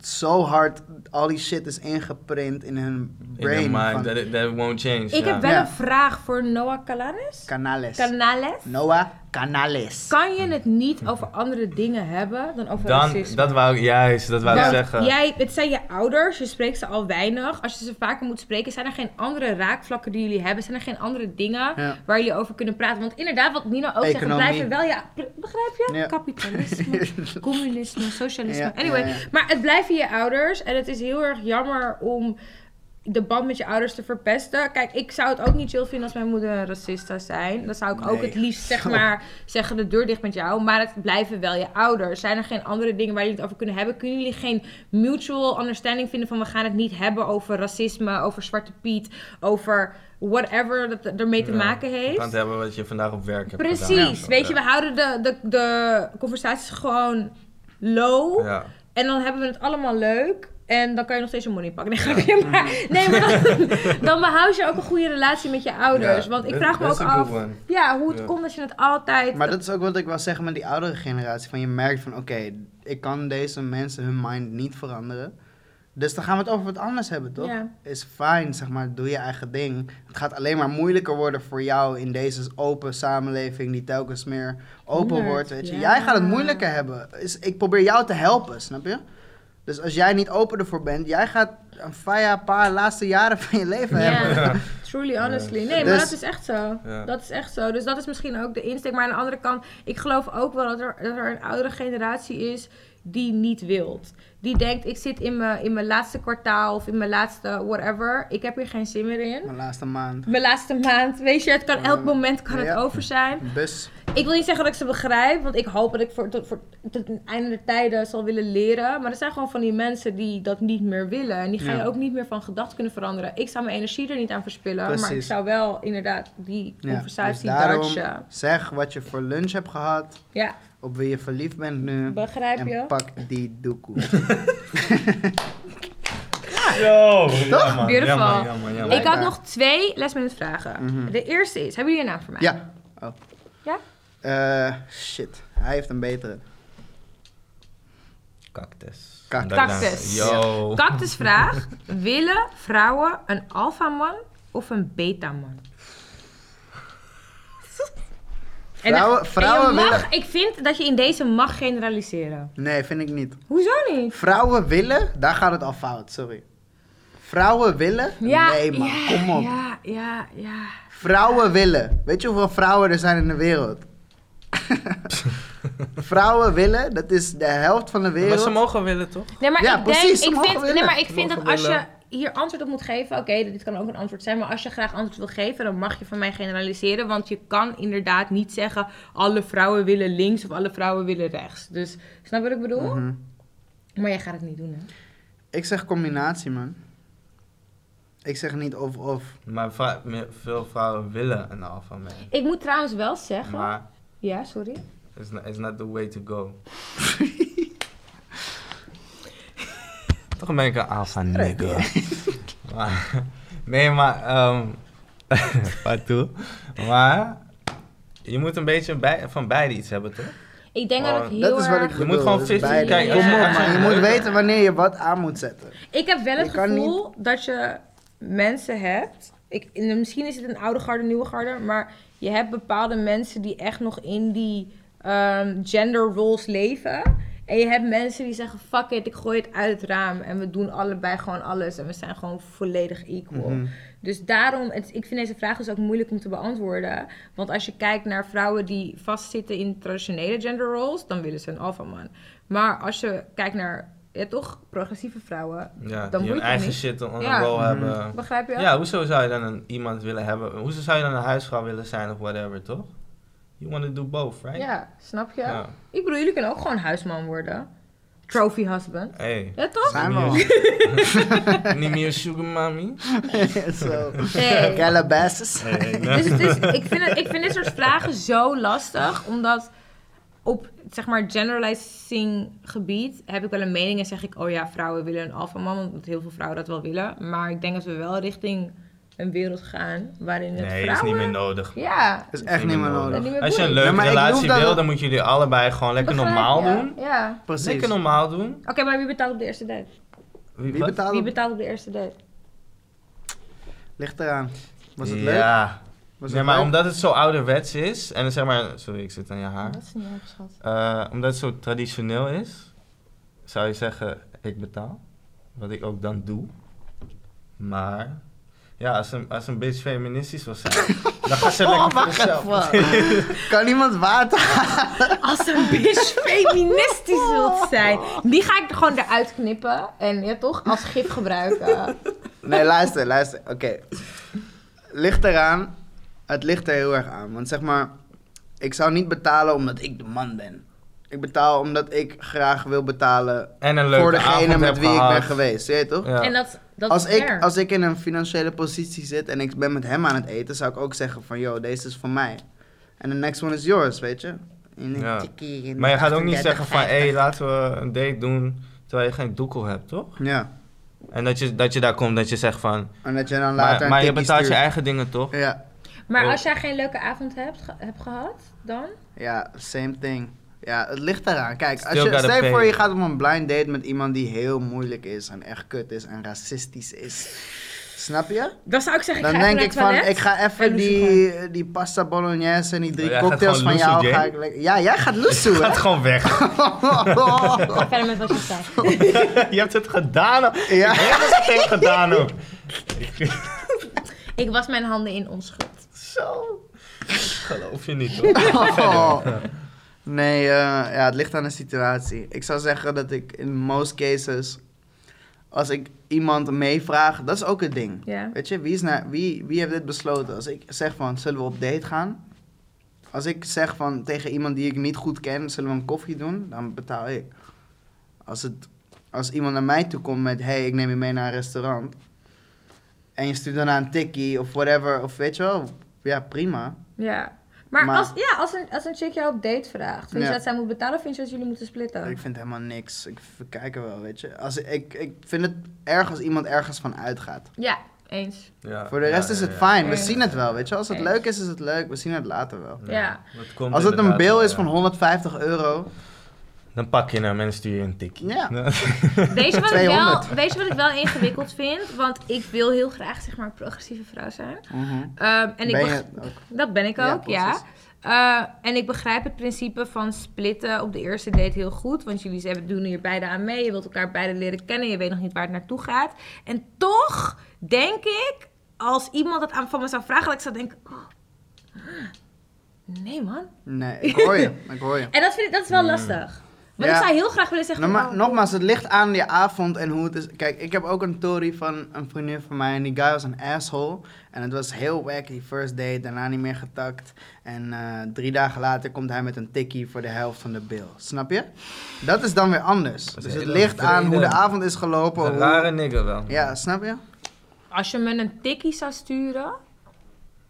zo hard al die shit is ingeprint in hun In their brain. mind, van that, it- that it won't change. Ik ja. heb wel Ja. een vraag voor Noah Calanes. Canales. Canales? Noah Canales. Kan je het niet over andere dingen hebben dan over Dan, racisme? dat wou ik, juist, dat wou ik Want zeggen. Jij, het zijn je ouders, je spreekt ze al weinig. Als je ze vaker moet spreken, zijn er geen andere raakvlakken die jullie hebben? Zijn er geen andere dingen Ja. waar jullie over kunnen praten? Want inderdaad, wat Nina ook zegt, we Economie. blijven wel, ja, pr- begrijp je? Ja. <laughs> Kapitalisme, communisme, socialisme. Ja, anyway, ja, ja. maar het blijven je ouders en het is heel erg jammer om de band met je ouders te verpesten. Kijk, ik zou het ook niet chill vinden als mijn moeder een racist zou zijn. Dan zou ik ook Nee. het liefst, <laughs> zeg maar, zeggen de deur dicht met jou. Maar het blijven wel je ouders. Zijn er geen andere dingen waar jullie het over kunnen hebben? Kunnen jullie geen mutual understanding vinden van... we gaan het niet hebben over racisme, over Zwarte Piet... over whatever dat ermee te Ja. maken Je kan het heeft? hebben wat je vandaag op werk hebt gedaan. Precies. Ja. Weet je, we houden de, de, de conversaties gewoon low... Ja. En dan hebben we het allemaal leuk. En dan kan je nog steeds je money pakken. Nee, grapje, <laughs> <laughs> maar, nee, maar dan, dan behoud je ook een goede relatie met je ouders. Ja, Want ik dat- vraag me dat ook is een af good one. ja, hoe het Ja. komt dat je het altijd... Maar dat is ook wat ik wil zeggen met die oudere generatie. Van je merkt van, oké, ik kan deze mensen hun mind niet veranderen. Dus dan gaan we het over wat anders hebben, toch? Ja. Is fijn, zeg maar. Doe je eigen ding. Het gaat alleen maar moeilijker worden voor jou in deze open samenleving die telkens meer open Honderd, wordt. Weet je. ja. Jij gaat het moeilijker hebben. Is, ik probeer jou te helpen, snap je? Dus als jij niet open ervoor bent, jij gaat een faya paar laatste jaren van je leven hebben. Ja, <laughs> truly, honestly. Nee, maar Dus- dat is echt zo. Ja. Dat is echt zo. Dus dat is misschien ook de insteek. Maar aan de andere kant, ik geloof ook wel dat er, dat er een oudere generatie is die niet wilt. Die denkt, ik zit in mijn, in mijn laatste kwartaal of in mijn laatste whatever. Ik heb hier geen zin meer in. Mijn laatste maand. Mijn laatste maand, weet je, het kan elk moment kan ja. het over zijn. Bus. Ik wil niet zeggen dat ik ze begrijp, want ik hoop dat ik voor, tot, voor, tot het einde der tijden zal willen leren. Maar er zijn gewoon van die mensen die dat niet meer willen. En die ga je Ja. ook niet meer van gedachten kunnen veranderen. Ik zou mijn energie er niet aan verspillen, maar ik Precies. zou wel inderdaad die Ja, conversatie dus daarom dodgen. Zeg wat je voor lunch hebt gehad, Ja, op wie je verliefd bent nu. begrijp en je? pak die doekoe. <laughs> Yo! Toch? Jammer, Beautiful. jammer, jammer, jammer. Ik had blijkbaar. nog twee last minute vragen. Mhm. De eerste is, hebben jullie een naam voor mij? ja. Oh. Ja? Eh, shit, hij heeft een betere. Cactus. Cactus. Cactus. Yo. Cactusvraag. willen vrouwen een alfaman of een betaman? En, Vrouwen- en je vrouwen mag, ik vind dat je in deze mag generaliseren. Nee, vind ik niet. Hoezo niet? Vrouwen willen, daar gaat het al fout, sorry. Vrouwen willen? nee man, ja, kom op. Ja, ja, ja. Vrouwen willen. Weet je hoeveel vrouwen er zijn in de <laughs> wereld? vrouwen willen, dat is de helft van de Maar wereld. ze mogen willen, toch? Nee, maar Ja, ik precies, ze denk, ik mogen vind, nee, willen. maar ik Ze vind dat mogen als je willen. hier antwoord op moet geven, oké, dit kan ook een antwoord zijn, maar als je graag antwoord wil geven, dan mag je van mij generaliseren, want je kan inderdaad niet zeggen alle vrouwen willen links of alle vrouwen willen rechts. Dus snap je wat ik bedoel? Mhm. Maar jij gaat het niet doen, hè? Ik zeg combinatie, man. Ik zeg niet of-of. Maar vrou- meer- veel vrouwen willen een alpha man. Ik moet trouwens wel zeggen. Maar Ja, sorry. it's not, it's not the way to <laughs> go. toch ben ik een alpha nigga. <laughs> Maar- nee, maar... ehm <laughs> waartoe? Maar... Je moet een beetje bij- van beide iets hebben, toch? Ik denk dat Oh, ik heel Dat is wat ik erg- bedoel. Je moet gewoon dat is 50 beide. kijken. Kom op, Ja. man. Je moet weten wanneer je wat aan moet zetten. Mhm. Ik heb wel het Je kan gevoel dat je mensen hebt. Ik, en misschien is het een oude garde, nieuwe garde. Maar je hebt bepaalde mensen die echt nog in die ehm, gender roles leven. En je hebt mensen die zeggen: fuck it, ik gooi het uit het raam. En we doen allebei gewoon alles. En we zijn gewoon volledig equal. Mhm. Dus daarom, het, ik vind deze vraag dus ook moeilijk om te beantwoorden. Want als je kijkt naar vrouwen die vastzitten in traditionele gender roles, dan willen ze een alpha man. Maar als je kijkt naar, ja toch, progressieve vrouwen, Ja, die dan moet hun je eigen niet. shit onder Ja. rol Mhm. hebben. Begrijp je? Ja, hoezo zou je dan een, iemand willen hebben? Hoezo zou je dan een huisvrouw willen zijn of whatever, toch? You want to do both, right? Ja, snap je? Ja. Ik bedoel, jullie kunnen ook gewoon huisman worden. Trophy husband. Hey. Ja, <laughs> toch? Zijn we Niet al. Niet meer sugar mommy? <laughs> Zo. Nee. Calabasas. Dus het is, ik, vind het, ik vind dit soort vragen zo lastig, omdat op zeg maar generalizing gebied heb ik wel een mening en zeg ik, oh ja, vrouwen willen een alpha man, omdat heel veel vrouwen dat wel willen. Maar ik denk dat we wel richting een wereld gaan waarin het Nee, dat is vrouwen... niet meer nodig. Ja, Dat is echt niet meer nodig. niet meer Als je een Ja, boeiend. leuke maar ik relatie bedoel dat wil, het- dan moeten jullie allebei gewoon lekker Begrijp normaal je? doen. Ja. Precies. Lekker normaal doen. Oké, maar wie betaalt op de eerste date? Wie wat? betaalt Wie het? betaalt op de eerste date? Ligt eraan. Was het leuk? Ja. Was Nee, het maar leuk? omdat het zo ouderwets is, en dan zeg maar, sorry, ik zit aan je haar. Dat is niet erg, schat. Eh, omdat het zo traditioneel is, zou je zeggen, ik betaal. Wat ik ook dan doe. Maar, ja, als een, als een bitch feministisch was <laughs> zijn, dan gaat ze Oh, lekker voor zichzelf. Kan iemand water? Als een bitch feministisch wilt zijn. Die ga ik er gewoon eruit knippen. En ja, toch? Als gif gebruiken. Nee, luister, luister. Oké. Ligt eraan. Het ligt er heel erg aan. Want zeg maar, ik zou niet betalen omdat ik de man ben. Ik betaal omdat ik graag wil betalen <laughs> En een leuke voor avond degene heb met wie gehad. ik ben geweest. Je weet toch? Ja. En dat, dat Als is ik, fair. als ik in een financiële positie zit en ik ben met hem aan het eten, zou ik ook zeggen van, yo, deze is van mij. En the next one is yours, weet je? In een Ja. tikkie, in Maar je gaat ook niet 38, zeggen van, hé, 50. hey, laten we een date doen terwijl je geen doekel hebt, toch? Ja, En dat je, dat je daar komt, dat je zegt van, en dat je dan later maar, een maar je tikkie betaalt je stuurt. eigen dingen, toch? Ja, Maar als jij geen leuke avond hebt, ge- hebt gehad, dan? ja, same thing. Ja, het ligt eraan. Kijk, als Still je, gotta stel je pay. voor je gaat op een blind date met iemand die heel moeilijk is en echt kut is en racistisch is. Snap je? Dan zou ik zeggen, ik Dan ga denk even ik naar van, het toilet. ik ga even en loesoe die, die pasta bolognese en die drie Oh, jij gaat cocktails van gewoon jou... loesoe, Ga Jane. ik, lekker- ja, jij gaat loesoe, hè? <laughs> Gaat gewoon weg. Ga verder met wat je zei. je hebt het gedaan. al. <laughs> Ja. <laughs> Ik heb het meteen gedaan ook. Ik was mijn handen in onschuld. Zo. Geloof je <laughs> niet, hoor. Oh. Nee, eh, ja, het ligt aan de situatie. Ik zou zeggen dat ik in most cases, als ik iemand meevraag, dat is ook het ding. Ja. Weet je, wie, is naar, wie, wie heeft dit besloten? Als ik zeg van, zullen we op date gaan? Als ik zeg van, tegen iemand die ik niet goed ken, zullen we een koffie doen? Dan betaal ik. Als, het, als iemand naar mij toe komt met, hey, ik neem je mee naar een restaurant. En je stuurt daarna een tikkie of whatever, of weet je wel. Ja, prima. Ja. Maar, Maar- als, ja, als, een, als een chick jou op date vraagt, vind je Ja. dat zij moet betalen of vind je dat jullie moeten splitten? Ik vind helemaal niks. Ik, we kijken wel, weet je. Als, ik, ik vind het erg als iemand ergens van uitgaat. Ja, eens. Ja, Voor de ja, rest ja, is het ja. fijn. We Eens. zien het wel, weet je. Als het Eens. leuk is, is het leuk. We zien het later wel. Ja. Dat komt Als het een inderdaad eh, bill wel, is ja. van 150 euro, Dan pak je hem en stuur je een tikkie. <laughs> Ja. Weet je, wat ik wel, 200. weet je wat ik wel ingewikkeld vind? Want ik wil heel graag zeg maar een progressieve vrouw zijn. Ehm, en ik ben beg- je het ook. Dat ben ik Ja, ook, ja. precies. Eh, en ik begrijp het principe van splitten op de eerste date heel goed. Want jullie hebben, doen hier beide aan mee. Je wilt elkaar beide leren kennen. Je weet nog niet waar het naartoe gaat. En toch denk ik, als iemand het aan, van me zou vragen, dat ik zou denken... oh, nee man. Nee, ik hoor je. Ik hoor je. En dat, vind <laughs> ik, dat is wel lastig. Want Hmm. Ja. Nou, ik zou heel graag willen zeggen... Norma- oh, nogmaals, het ligt aan die avond en hoe het is. Kijk, ik heb ook een story van een vriendin van mij. En die guy was een asshole. En het was heel wacky. die first date, daarna niet meer getakt. En eh, drie dagen later komt hij met een tikkie voor de helft van de bill. Snap je? Dat is dan weer anders. is Dus het heel ligt aan hoe de vrede. avond is gelopen. Een hoe- rare nigger wel. Ja, snap je? Als je me een tikkie zou sturen...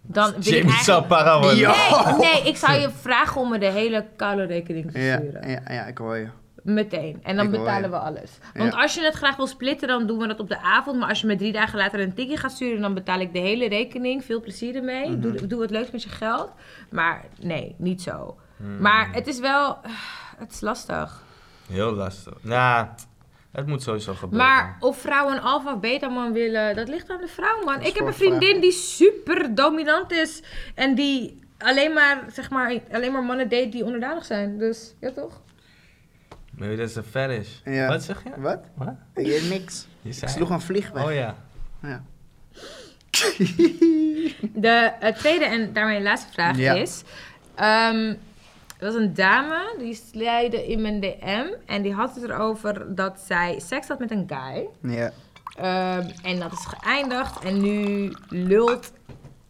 Dan wil ik Jamie eigenlijk... Sapara wordt- Ja. Nee, nee, ik zou je vragen om me de hele koude rekening te Ja, sturen. ja, ja, ik hoor je. Meteen. En dan Ik hoor betalen je. we alles. Want Ja. als je het graag wil splitten, dan doen we dat op de avond. Maar als je me drie dagen later een tikje gaat sturen, dan betaal ik de hele rekening. Veel plezier ermee. Mhm. doe, doe wat leuks met je geld. Maar nee, niet zo. Mhm. Maar het is wel... eh, Het is lastig. Heel lastig. Nou, het moet sowieso gebeuren. Maar of vrouwen een alfa of beta man willen, dat ligt aan de vrouw man. is Ik heb voor een vriendin vragen. die super dominant is. En die alleen maar, zeg maar, alleen maar mannen date die onderdanig zijn. Dus ja toch? Maybe that's a fetish. Ja. Wat zeg je? Wat? Wat? Ik deed niks. Je Ik zei... sloeg een vlieg weg. Oh ja. Ja. De eh, tweede en daarmee laatste vraag Ja. is... ehm er was een dame, die slijde in mijn DM. En die had het erover dat zij seks had met een guy. Ja. Ehm, en dat is geëindigd. En nu lult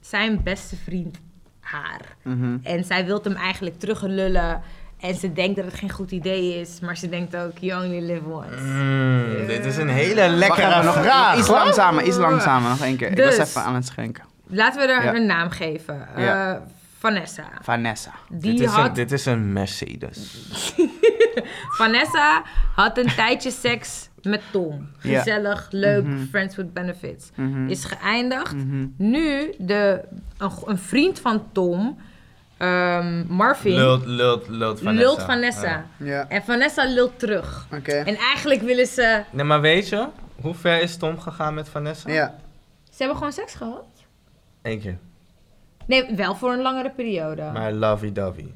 zijn beste vriend haar. Mhm. En zij wil hem eigenlijk teruglullen. En ze denkt dat het geen goed idee is. Maar ze denkt ook, you only live once. Hmm, Mm, Dit is een hele lekkere Wacht even, nog vraag. Iets hoor. langzamer, iets langzamer. Nog één keer. Ik Dus. was even aan het schenken. Laten we haar Ja. een naam geven. Eh, Ja. Vanessa. Vanessa. Die Dit is, had... een, dit is een Mercedes. Vanessa had een tijdje seks met Tom. Ja. Gezellig, leuk, friends with benefits. Is geëindigd. Nu de, een, go- een vriend van Tom, ehm, Marvin, Lult, lult, lult Vanessa. lult Vanessa. Ja. Ja. En Vanessa lult terug. Oké. En eigenlijk willen ze... Nee, maar weet je, hoe ver is Tom gegaan met Vanessa? Ja. Ze hebben gewoon seks gehad? Eén keer. Nee, wel voor een langere periode. Maar lovey-dovey.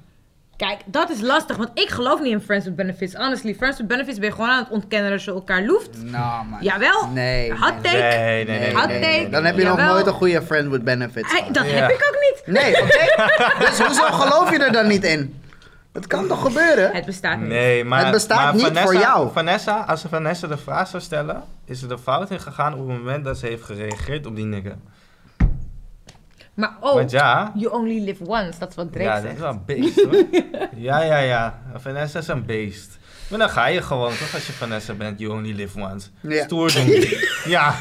Kijk, dat is lastig, want ik geloof niet in friends with benefits. Honestly, friends with benefits ben je gewoon aan het ontkennen dat je elkaar loeft. Nou, man. Jawel. Nee. Hot nee, take. Nee, nee, nee. nee, Hot nee, take. nee. Dan heb je nog Jawel. nooit een goede friend with benefits. Hey, gehad. dat Ja. heb ik ook niet. Nee, oké. <laughs> dus hoezo geloof je er dan niet in? Het kan toch gebeuren? Het bestaat niet. Nee, maar, Het bestaat maar niet Vanessa, voor jou. Vanessa, als ze Vanessa de vraag zou stellen, is ze de fout in gegaan op het moment dat ze heeft gereageerd op die nigger. Maar oh, ook, Want ja, you only live once, dat is wat Drake ja dat zegt. is wel een beest hoor. <laughs> ja, ja, ja. Vanessa is een beest. Maar dan ga je gewoon, toch? Als je Vanessa bent, you only live once. Ja. <laughs> Stoer doen. ja,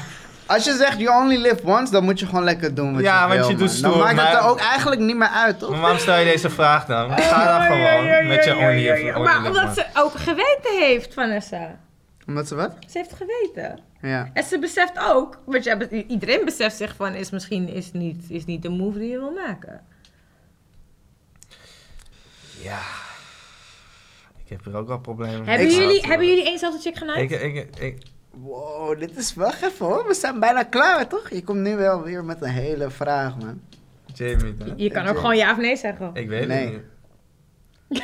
Als je zegt you only live once, dan moet je gewoon lekker doen wat Ja, je want wil. je doet man. stoer, Dan maakt maar- Mm. het er ook eigenlijk niet meer uit, toch? maar waarom stel je deze vraag dan? Ga dan gewoon met je only live only Maar live omdat once. ze ook geweten heeft, Vanessa. Omdat ze wat? Ze heeft geweten. Ja. En ze beseft ook, want jij be- iedereen beseft zich van, is misschien is niet, is niet de move die je wil maken. Ja. Ik heb hier ook wel problemen mee. Hebben, gehad, jullie, hoor. hebben jullie eens zelfs een chick genaaid? Ik, ik, ik, Wow, dit is wel even hoor. We zijn bijna klaar, toch? Je komt nu wel weer met een hele vraag, man. Jamie, dan. Je kan ook Ik- gewoon ja of nee zeggen. Ik weet Nee. het niet.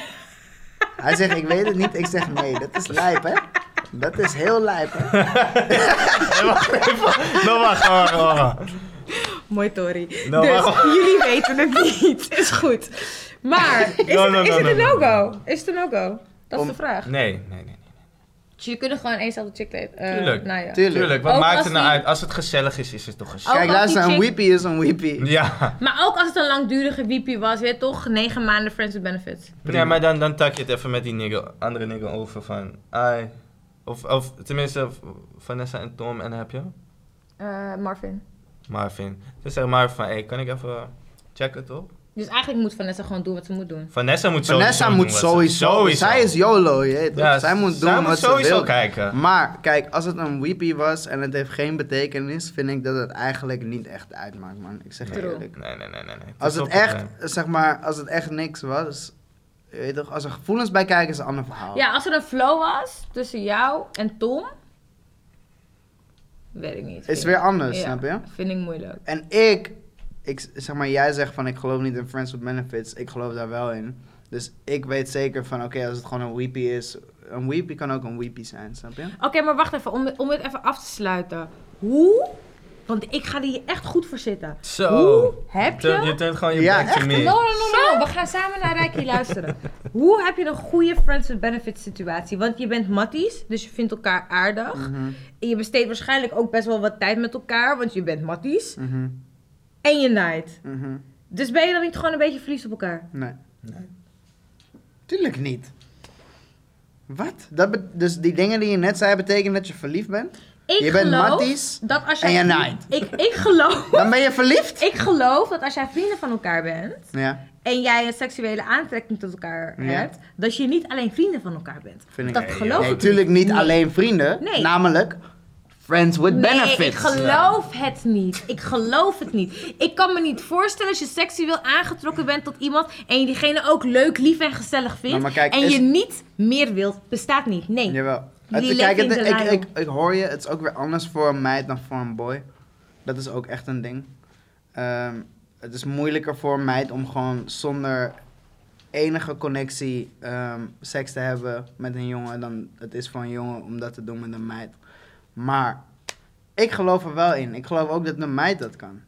Hij zegt, ik weet het niet. Ik zeg, nee, dat is lijp, hè? Dat is heel lijp, hè? Nou, wacht, wacht, wacht, wacht. Mooi Tori. Nou, dus maar- <laughs> jullie weten het niet. <laughs> Is goed. <laughs> Maar is, No, het, no, is no, het no, een no, no-go? Is het een no-go? Dat is Om- de vraag. Nee, nee, nee. Dus jullie kunnen gewoon eens zelfde chick date. eh, Tuurlijk. naaien. Tuurlijk. Tuurlijk, wat Ook maakt als het nou Oh, die- uit? Als het gezellig is, is het toch gezellig. Kijk, als luister, die een chick- weepie is een weepie. Ja. Maar ook als het een langdurige wiepie was, weet je toch? Negen maanden friends with benefits. Nee, maar dan, dan tak je het even met die nigger, andere nigger over van... Ai. Of, of tenminste, v- Vanessa en Tom en heb je? Eh, Marvin. Marvin. Dus zeg Marvin van, hey, kan ik even checken, toch? Dus eigenlijk moet Vanessa gewoon doen wat ze moet doen. Vanessa moet sowieso Vanessa doen moet wat ze- sowieso, sowieso. Zij is YOLO, je weet toch? Ja, zij moet doen zij moet wat ze sowieso wil. kijken. Maar kijk, als het een weepie was en het heeft geen betekenis, vind ik dat het eigenlijk niet echt uitmaakt, man. Ik zeg je True. eerlijk. Nee, nee, nee, nee. nee. is Als het op- echt, zeg maar, als het echt niks was, je weet toch, als er gevoelens bij kijken is een ander verhaal. Ja, als er een flow was tussen jou en Tom. Weet ik niet. Is Vind- weer anders, Ja, snap je? Vind ik moeilijk. En ik, ik, zeg maar, jij zegt van ik geloof niet in friends with benefits, ik geloof daar wel in. Dus ik weet zeker van oké, als het gewoon een weepie is, een weepie kan ook een weepie zijn, snap je? Oké, maar wacht even. Om, om het even af te sluiten. Hoe? Want ik ga er hier echt goed voor zitten. Hoe Zo. heb Turn- Je je... turnt gewoon je Ja, bek te No, meer. no, no, no. We gaan samen naar Rijkie luisteren. Hoe heb je een goede friends with benefits situatie? Want je bent matties, dus je vindt elkaar aardig. Mhm, En je besteedt waarschijnlijk ook best wel wat tijd met elkaar, want je bent matties. mhm, En je naait. mhm. Dus ben je dan niet gewoon een beetje verliefd op elkaar? Nee. Tuurlijk niet. Wat? Dat bet- dus die dingen die je net zei betekenen dat je verliefd bent? Ik je bent geloof matties, dat als en jij je naait. Ik, ik, geloof, dan ben je verliefd? <laughs> ik geloof dat als jij vrienden van elkaar bent Ja, en jij een seksuele aantrekking tot elkaar Ja. hebt, dat je niet alleen vrienden van elkaar bent. vind ik. dat Nee, geloof Nee, ik tuurlijk niet Nee. alleen vrienden. Nee. Namelijk, friends with Nee, ik benefits. geloof het niet. Ik geloof het niet. Ik kan me niet voorstellen als je seksueel aangetrokken bent tot iemand en je diegene ook leuk, lief en gezellig vindt Nou, maar kijk, en is- je niet meer wilt, bestaat niet. Nee. Jawel. Jullie Het- kijk, leven het- in ik, de ik, ik hoor je, het is ook weer anders voor een meid dan voor een boy. Dat is ook echt een ding. Ehm, het is moeilijker voor een meid om gewoon zonder enige connectie ehm, seks te hebben met een jongen dan het is voor een jongen om dat te doen met een meid. Maar ik geloof er wel in. Ik geloof ook dat een meid dat kan.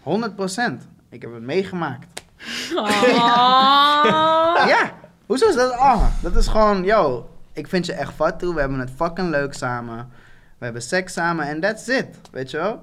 100%. Ik heb het meegemaakt. Oh. <laughs> Ja, hoezo is dat? Ah, dat is gewoon, yo, ik vind je echt vat toe. We hebben het fucking leuk samen. We hebben seks samen en that's it. Weet je wel?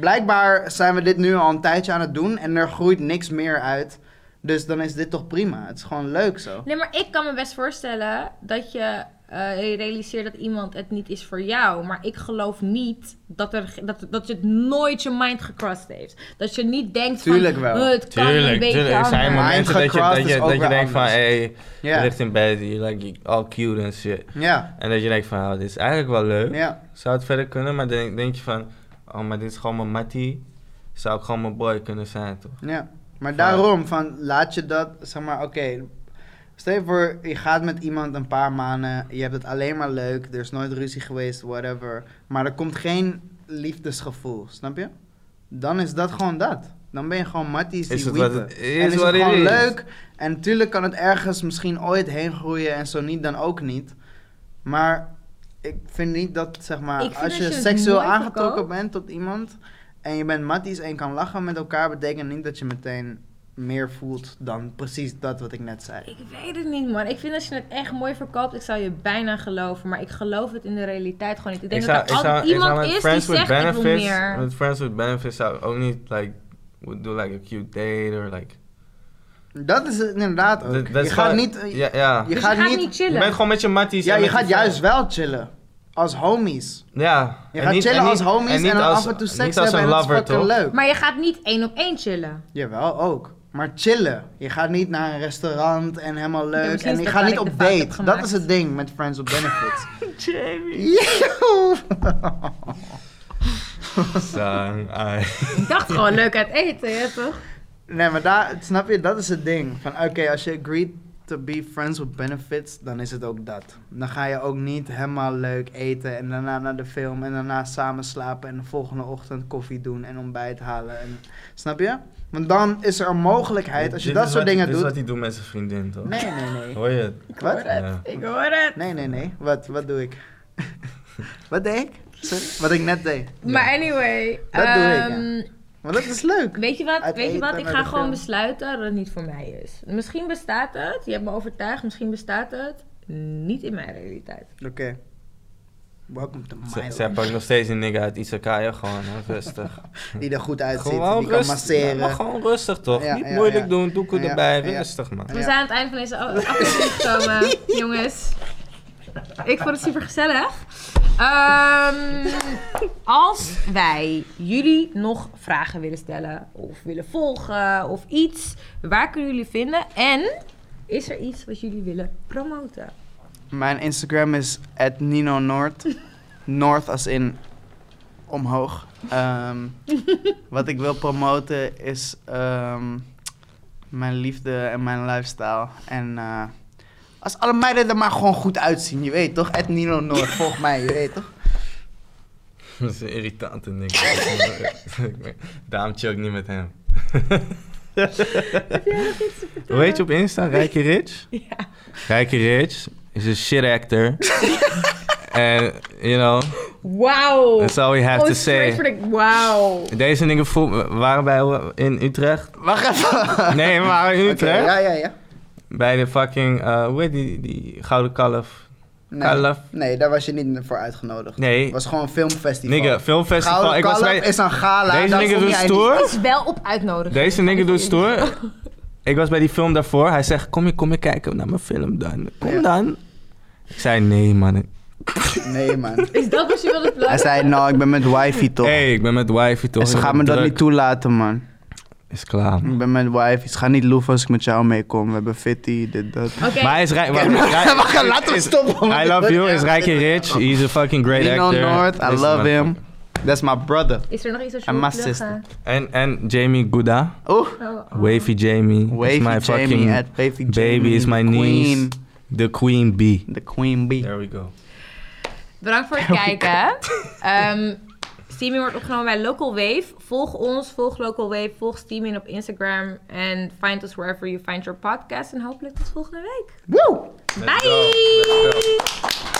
Blijkbaar zijn we dit nu al een tijdje aan het doen en er groeit niks meer uit. Dus dan is dit toch prima. Het is gewoon leuk zo. Nee, maar ik kan me best voorstellen dat je eh, realiseert dat iemand het niet is voor jou. Maar ik geloof niet dat, er, ge- dat, dat je het nooit je mind gecrossed heeft. Dat je niet denkt Tuurlijk van, wel. "Eh, het kan een Tuurlijk, beetje tuurlijk. Er zijn anders." Mind momenten dat je, gecrossed dat is je, ook dat je weer denkt van, anders. hey, je Ja, ligt in bed, je like, all cute en shit. ja, En dat je denkt van, oh, dit is eigenlijk wel leuk. ja. Zou het verder kunnen, maar dan denk, denk je van, oh, maar dit is gewoon mijn mattie. Zou ik gewoon mijn boy kunnen zijn, toch? Ja, maar Ja. daarom van laat je dat, zeg maar, oké. Stel je voor, je gaat met iemand een paar maanden, je hebt het alleen maar leuk, er is nooit ruzie geweest, whatever. Maar er komt geen liefdesgevoel, snap je? Dan is dat gewoon dat. Dan ben je gewoon matties die Is het wiepen. wat het is, en is wat het het gewoon is. leuk. En natuurlijk kan het ergens misschien ooit heen groeien en zo niet, dan ook niet. Maar ik vind niet dat, zeg maar, Ik vind als je, dat je het seksueel nooit aangetrokken verkoopt. bent tot iemand en je bent matties en je kan lachen met elkaar, betekent niet dat je meteen meer voelt dan precies dat wat ik net zei. Ik weet het niet, man. Ik vind als je het echt mooi verkoopt, ik zou je bijna geloven. Maar ik geloof het in de realiteit gewoon niet. Ik denk dat er altijd iemand is die zegt, ik wil benefits, meer. met friends with benefits zou ik ook niet, like, would do like a cute date or like... Dat is het inderdaad ook. Dat- dat je is gaat gewoon- niet... eh, Ja, ja. Je Dus gaat je gaat niet- niet, Je chillen. bent gewoon met je matties. Ja, en je met gaat vrienden. juist wel chillen. Als homies. Ja. Je en gaat niet- chillen en als niet- homies en, niet dan als- af en toe seks niet als hebben een en dat is lover, fucking toch? leuk. Maar je gaat niet één op één chillen. Jawel, ook. Maar chillen. Je gaat niet naar een restaurant en helemaal leuk. misschien En is je dat gaat waar niet ik de op fout heb date. Dat gemaakt. is het ding met Friends with <laughs> Benefits. Jamie. Yo! Ik dacht gewoon leuk uit eten, hè, toch? nee, maar daar, snap je, dat is het ding. Van oké, als je agreed to be friends with benefits, dan is het ook dat. Dan ga je ook niet helemaal leuk eten en daarna naar de film en daarna samen slapen en de volgende ochtend koffie doen en ontbijt halen. En, snap je? Want dan is er een mogelijkheid, als je Dit dat is soort wat- dingen Dit is doet. wat hij doet met zijn vriendin, toch? Nee, nee, nee. Hoor je het? Wat? Ja. Ik hoor het. Nee, nee, nee. Wat, wat doe ik? <laughs> wat deed ik? Sorry, wat ik net deed. Maar anyway. Dat doe ik, ja. ehm, Maar dat is leuk. Weet je wat? Uit Weet je eten wat? Ik naar ga de gewoon film. besluiten dat het niet voor mij is. Misschien bestaat het. Je hebt me overtuigd. Misschien bestaat het. Niet in mijn realiteit. Oké. Welcome to my Ze, life. ze pakt nog steeds een nigga uit Izakaya, gewoon hè, <laughs> rustig. Die er goed uitziet, gewoon die kan rustig. masseren. Ja, maar gewoon rustig toch? Ja, Niet ja, moeilijk ja. doen, doekoe Ja, erbij, ja. <laughs> rustig man. Ja. We zijn aan het einde van deze <laughs> a- aflevering gekomen, jongens. Ik vond het super gezellig. Ehm, als wij jullie nog vragen willen stellen of willen volgen of iets, waar kunnen jullie vinden? En is er iets wat jullie willen promoten? Mijn Instagram is Nino Noord. North als in omhoog. Ehm, wat ik wil promoten is ehm, mijn liefde en mijn lifestyle. En eh, als alle meiden er maar gewoon goed uitzien, je weet toch? Nino Noord, volg mij, je weet toch? <laughs> Dat is een irritante nigga. Daarom chill ik niet met hem. Heb jij nog iets te vertellen? Hoe heet je op Insta? Rijke Rich? Ja. Rijke Rich is een shit <laughs> actor. En, you know, Wauw. that's all we have Oh, to sorry say. voor de- Wauw. Deze dingen voel- waren bij in Utrecht. Wacht even. Nee, we waren in Oké, Utrecht. ja, ja, ja. Bij de fucking, eh, hoe heet die, die gouden kalf? Nee. Kalf? nee, daar was je niet voor uitgenodigd. Nee, Het was gewoon een filmfestival. nigga, filmfestival. Gouden ik was Kalf bij, is een gala. deze dat nigger kom doet jij stoer. niet. Het is wel op uitnodigen. Deze nigger doet stoer. Ik was bij die film daarvoor. Hij zegt, kom je, kom je kijken naar mijn film dan. Kom Ja. dan. Ik zei, nee man. Nee, man. Is dat wat je wilde Hij plannen? zei, nou, ik ben met wifi toch. hey, ik ben met wifi toch. en ze ik gaan ben me dat druk." niet toelaten, man. Is klaar. Ik ben met wifi. Ze gaan niet loeven als ik met jou meekom. We hebben fitty, dit, dat. Oké, Maar hij is rijk. Wacht, <laughs> laat hem stoppen, man. I love you. Is rijk en rich. He's a fucking great Nino actor. Noord, I Deze love man- him. That's my brother. is er nog iets als je En wilt mijn sister. pluggen? En, en Jamie Gouda. Oeh, Oh, oh. Wavy Jamie. is wavy my Jamie fucking at wavy Jamie. baby. Is my the queen, niece. The queen bee. The queen bee. There we go. Bedankt voor het kijken. Ehm Steaming wordt opgenomen bij Local Wave. Volg ons, volg Local Wave, volg Steaming op Instagram. En find us wherever you find your podcast. En hopelijk tot volgende week. Woo! Let's Bye! go. Let's go.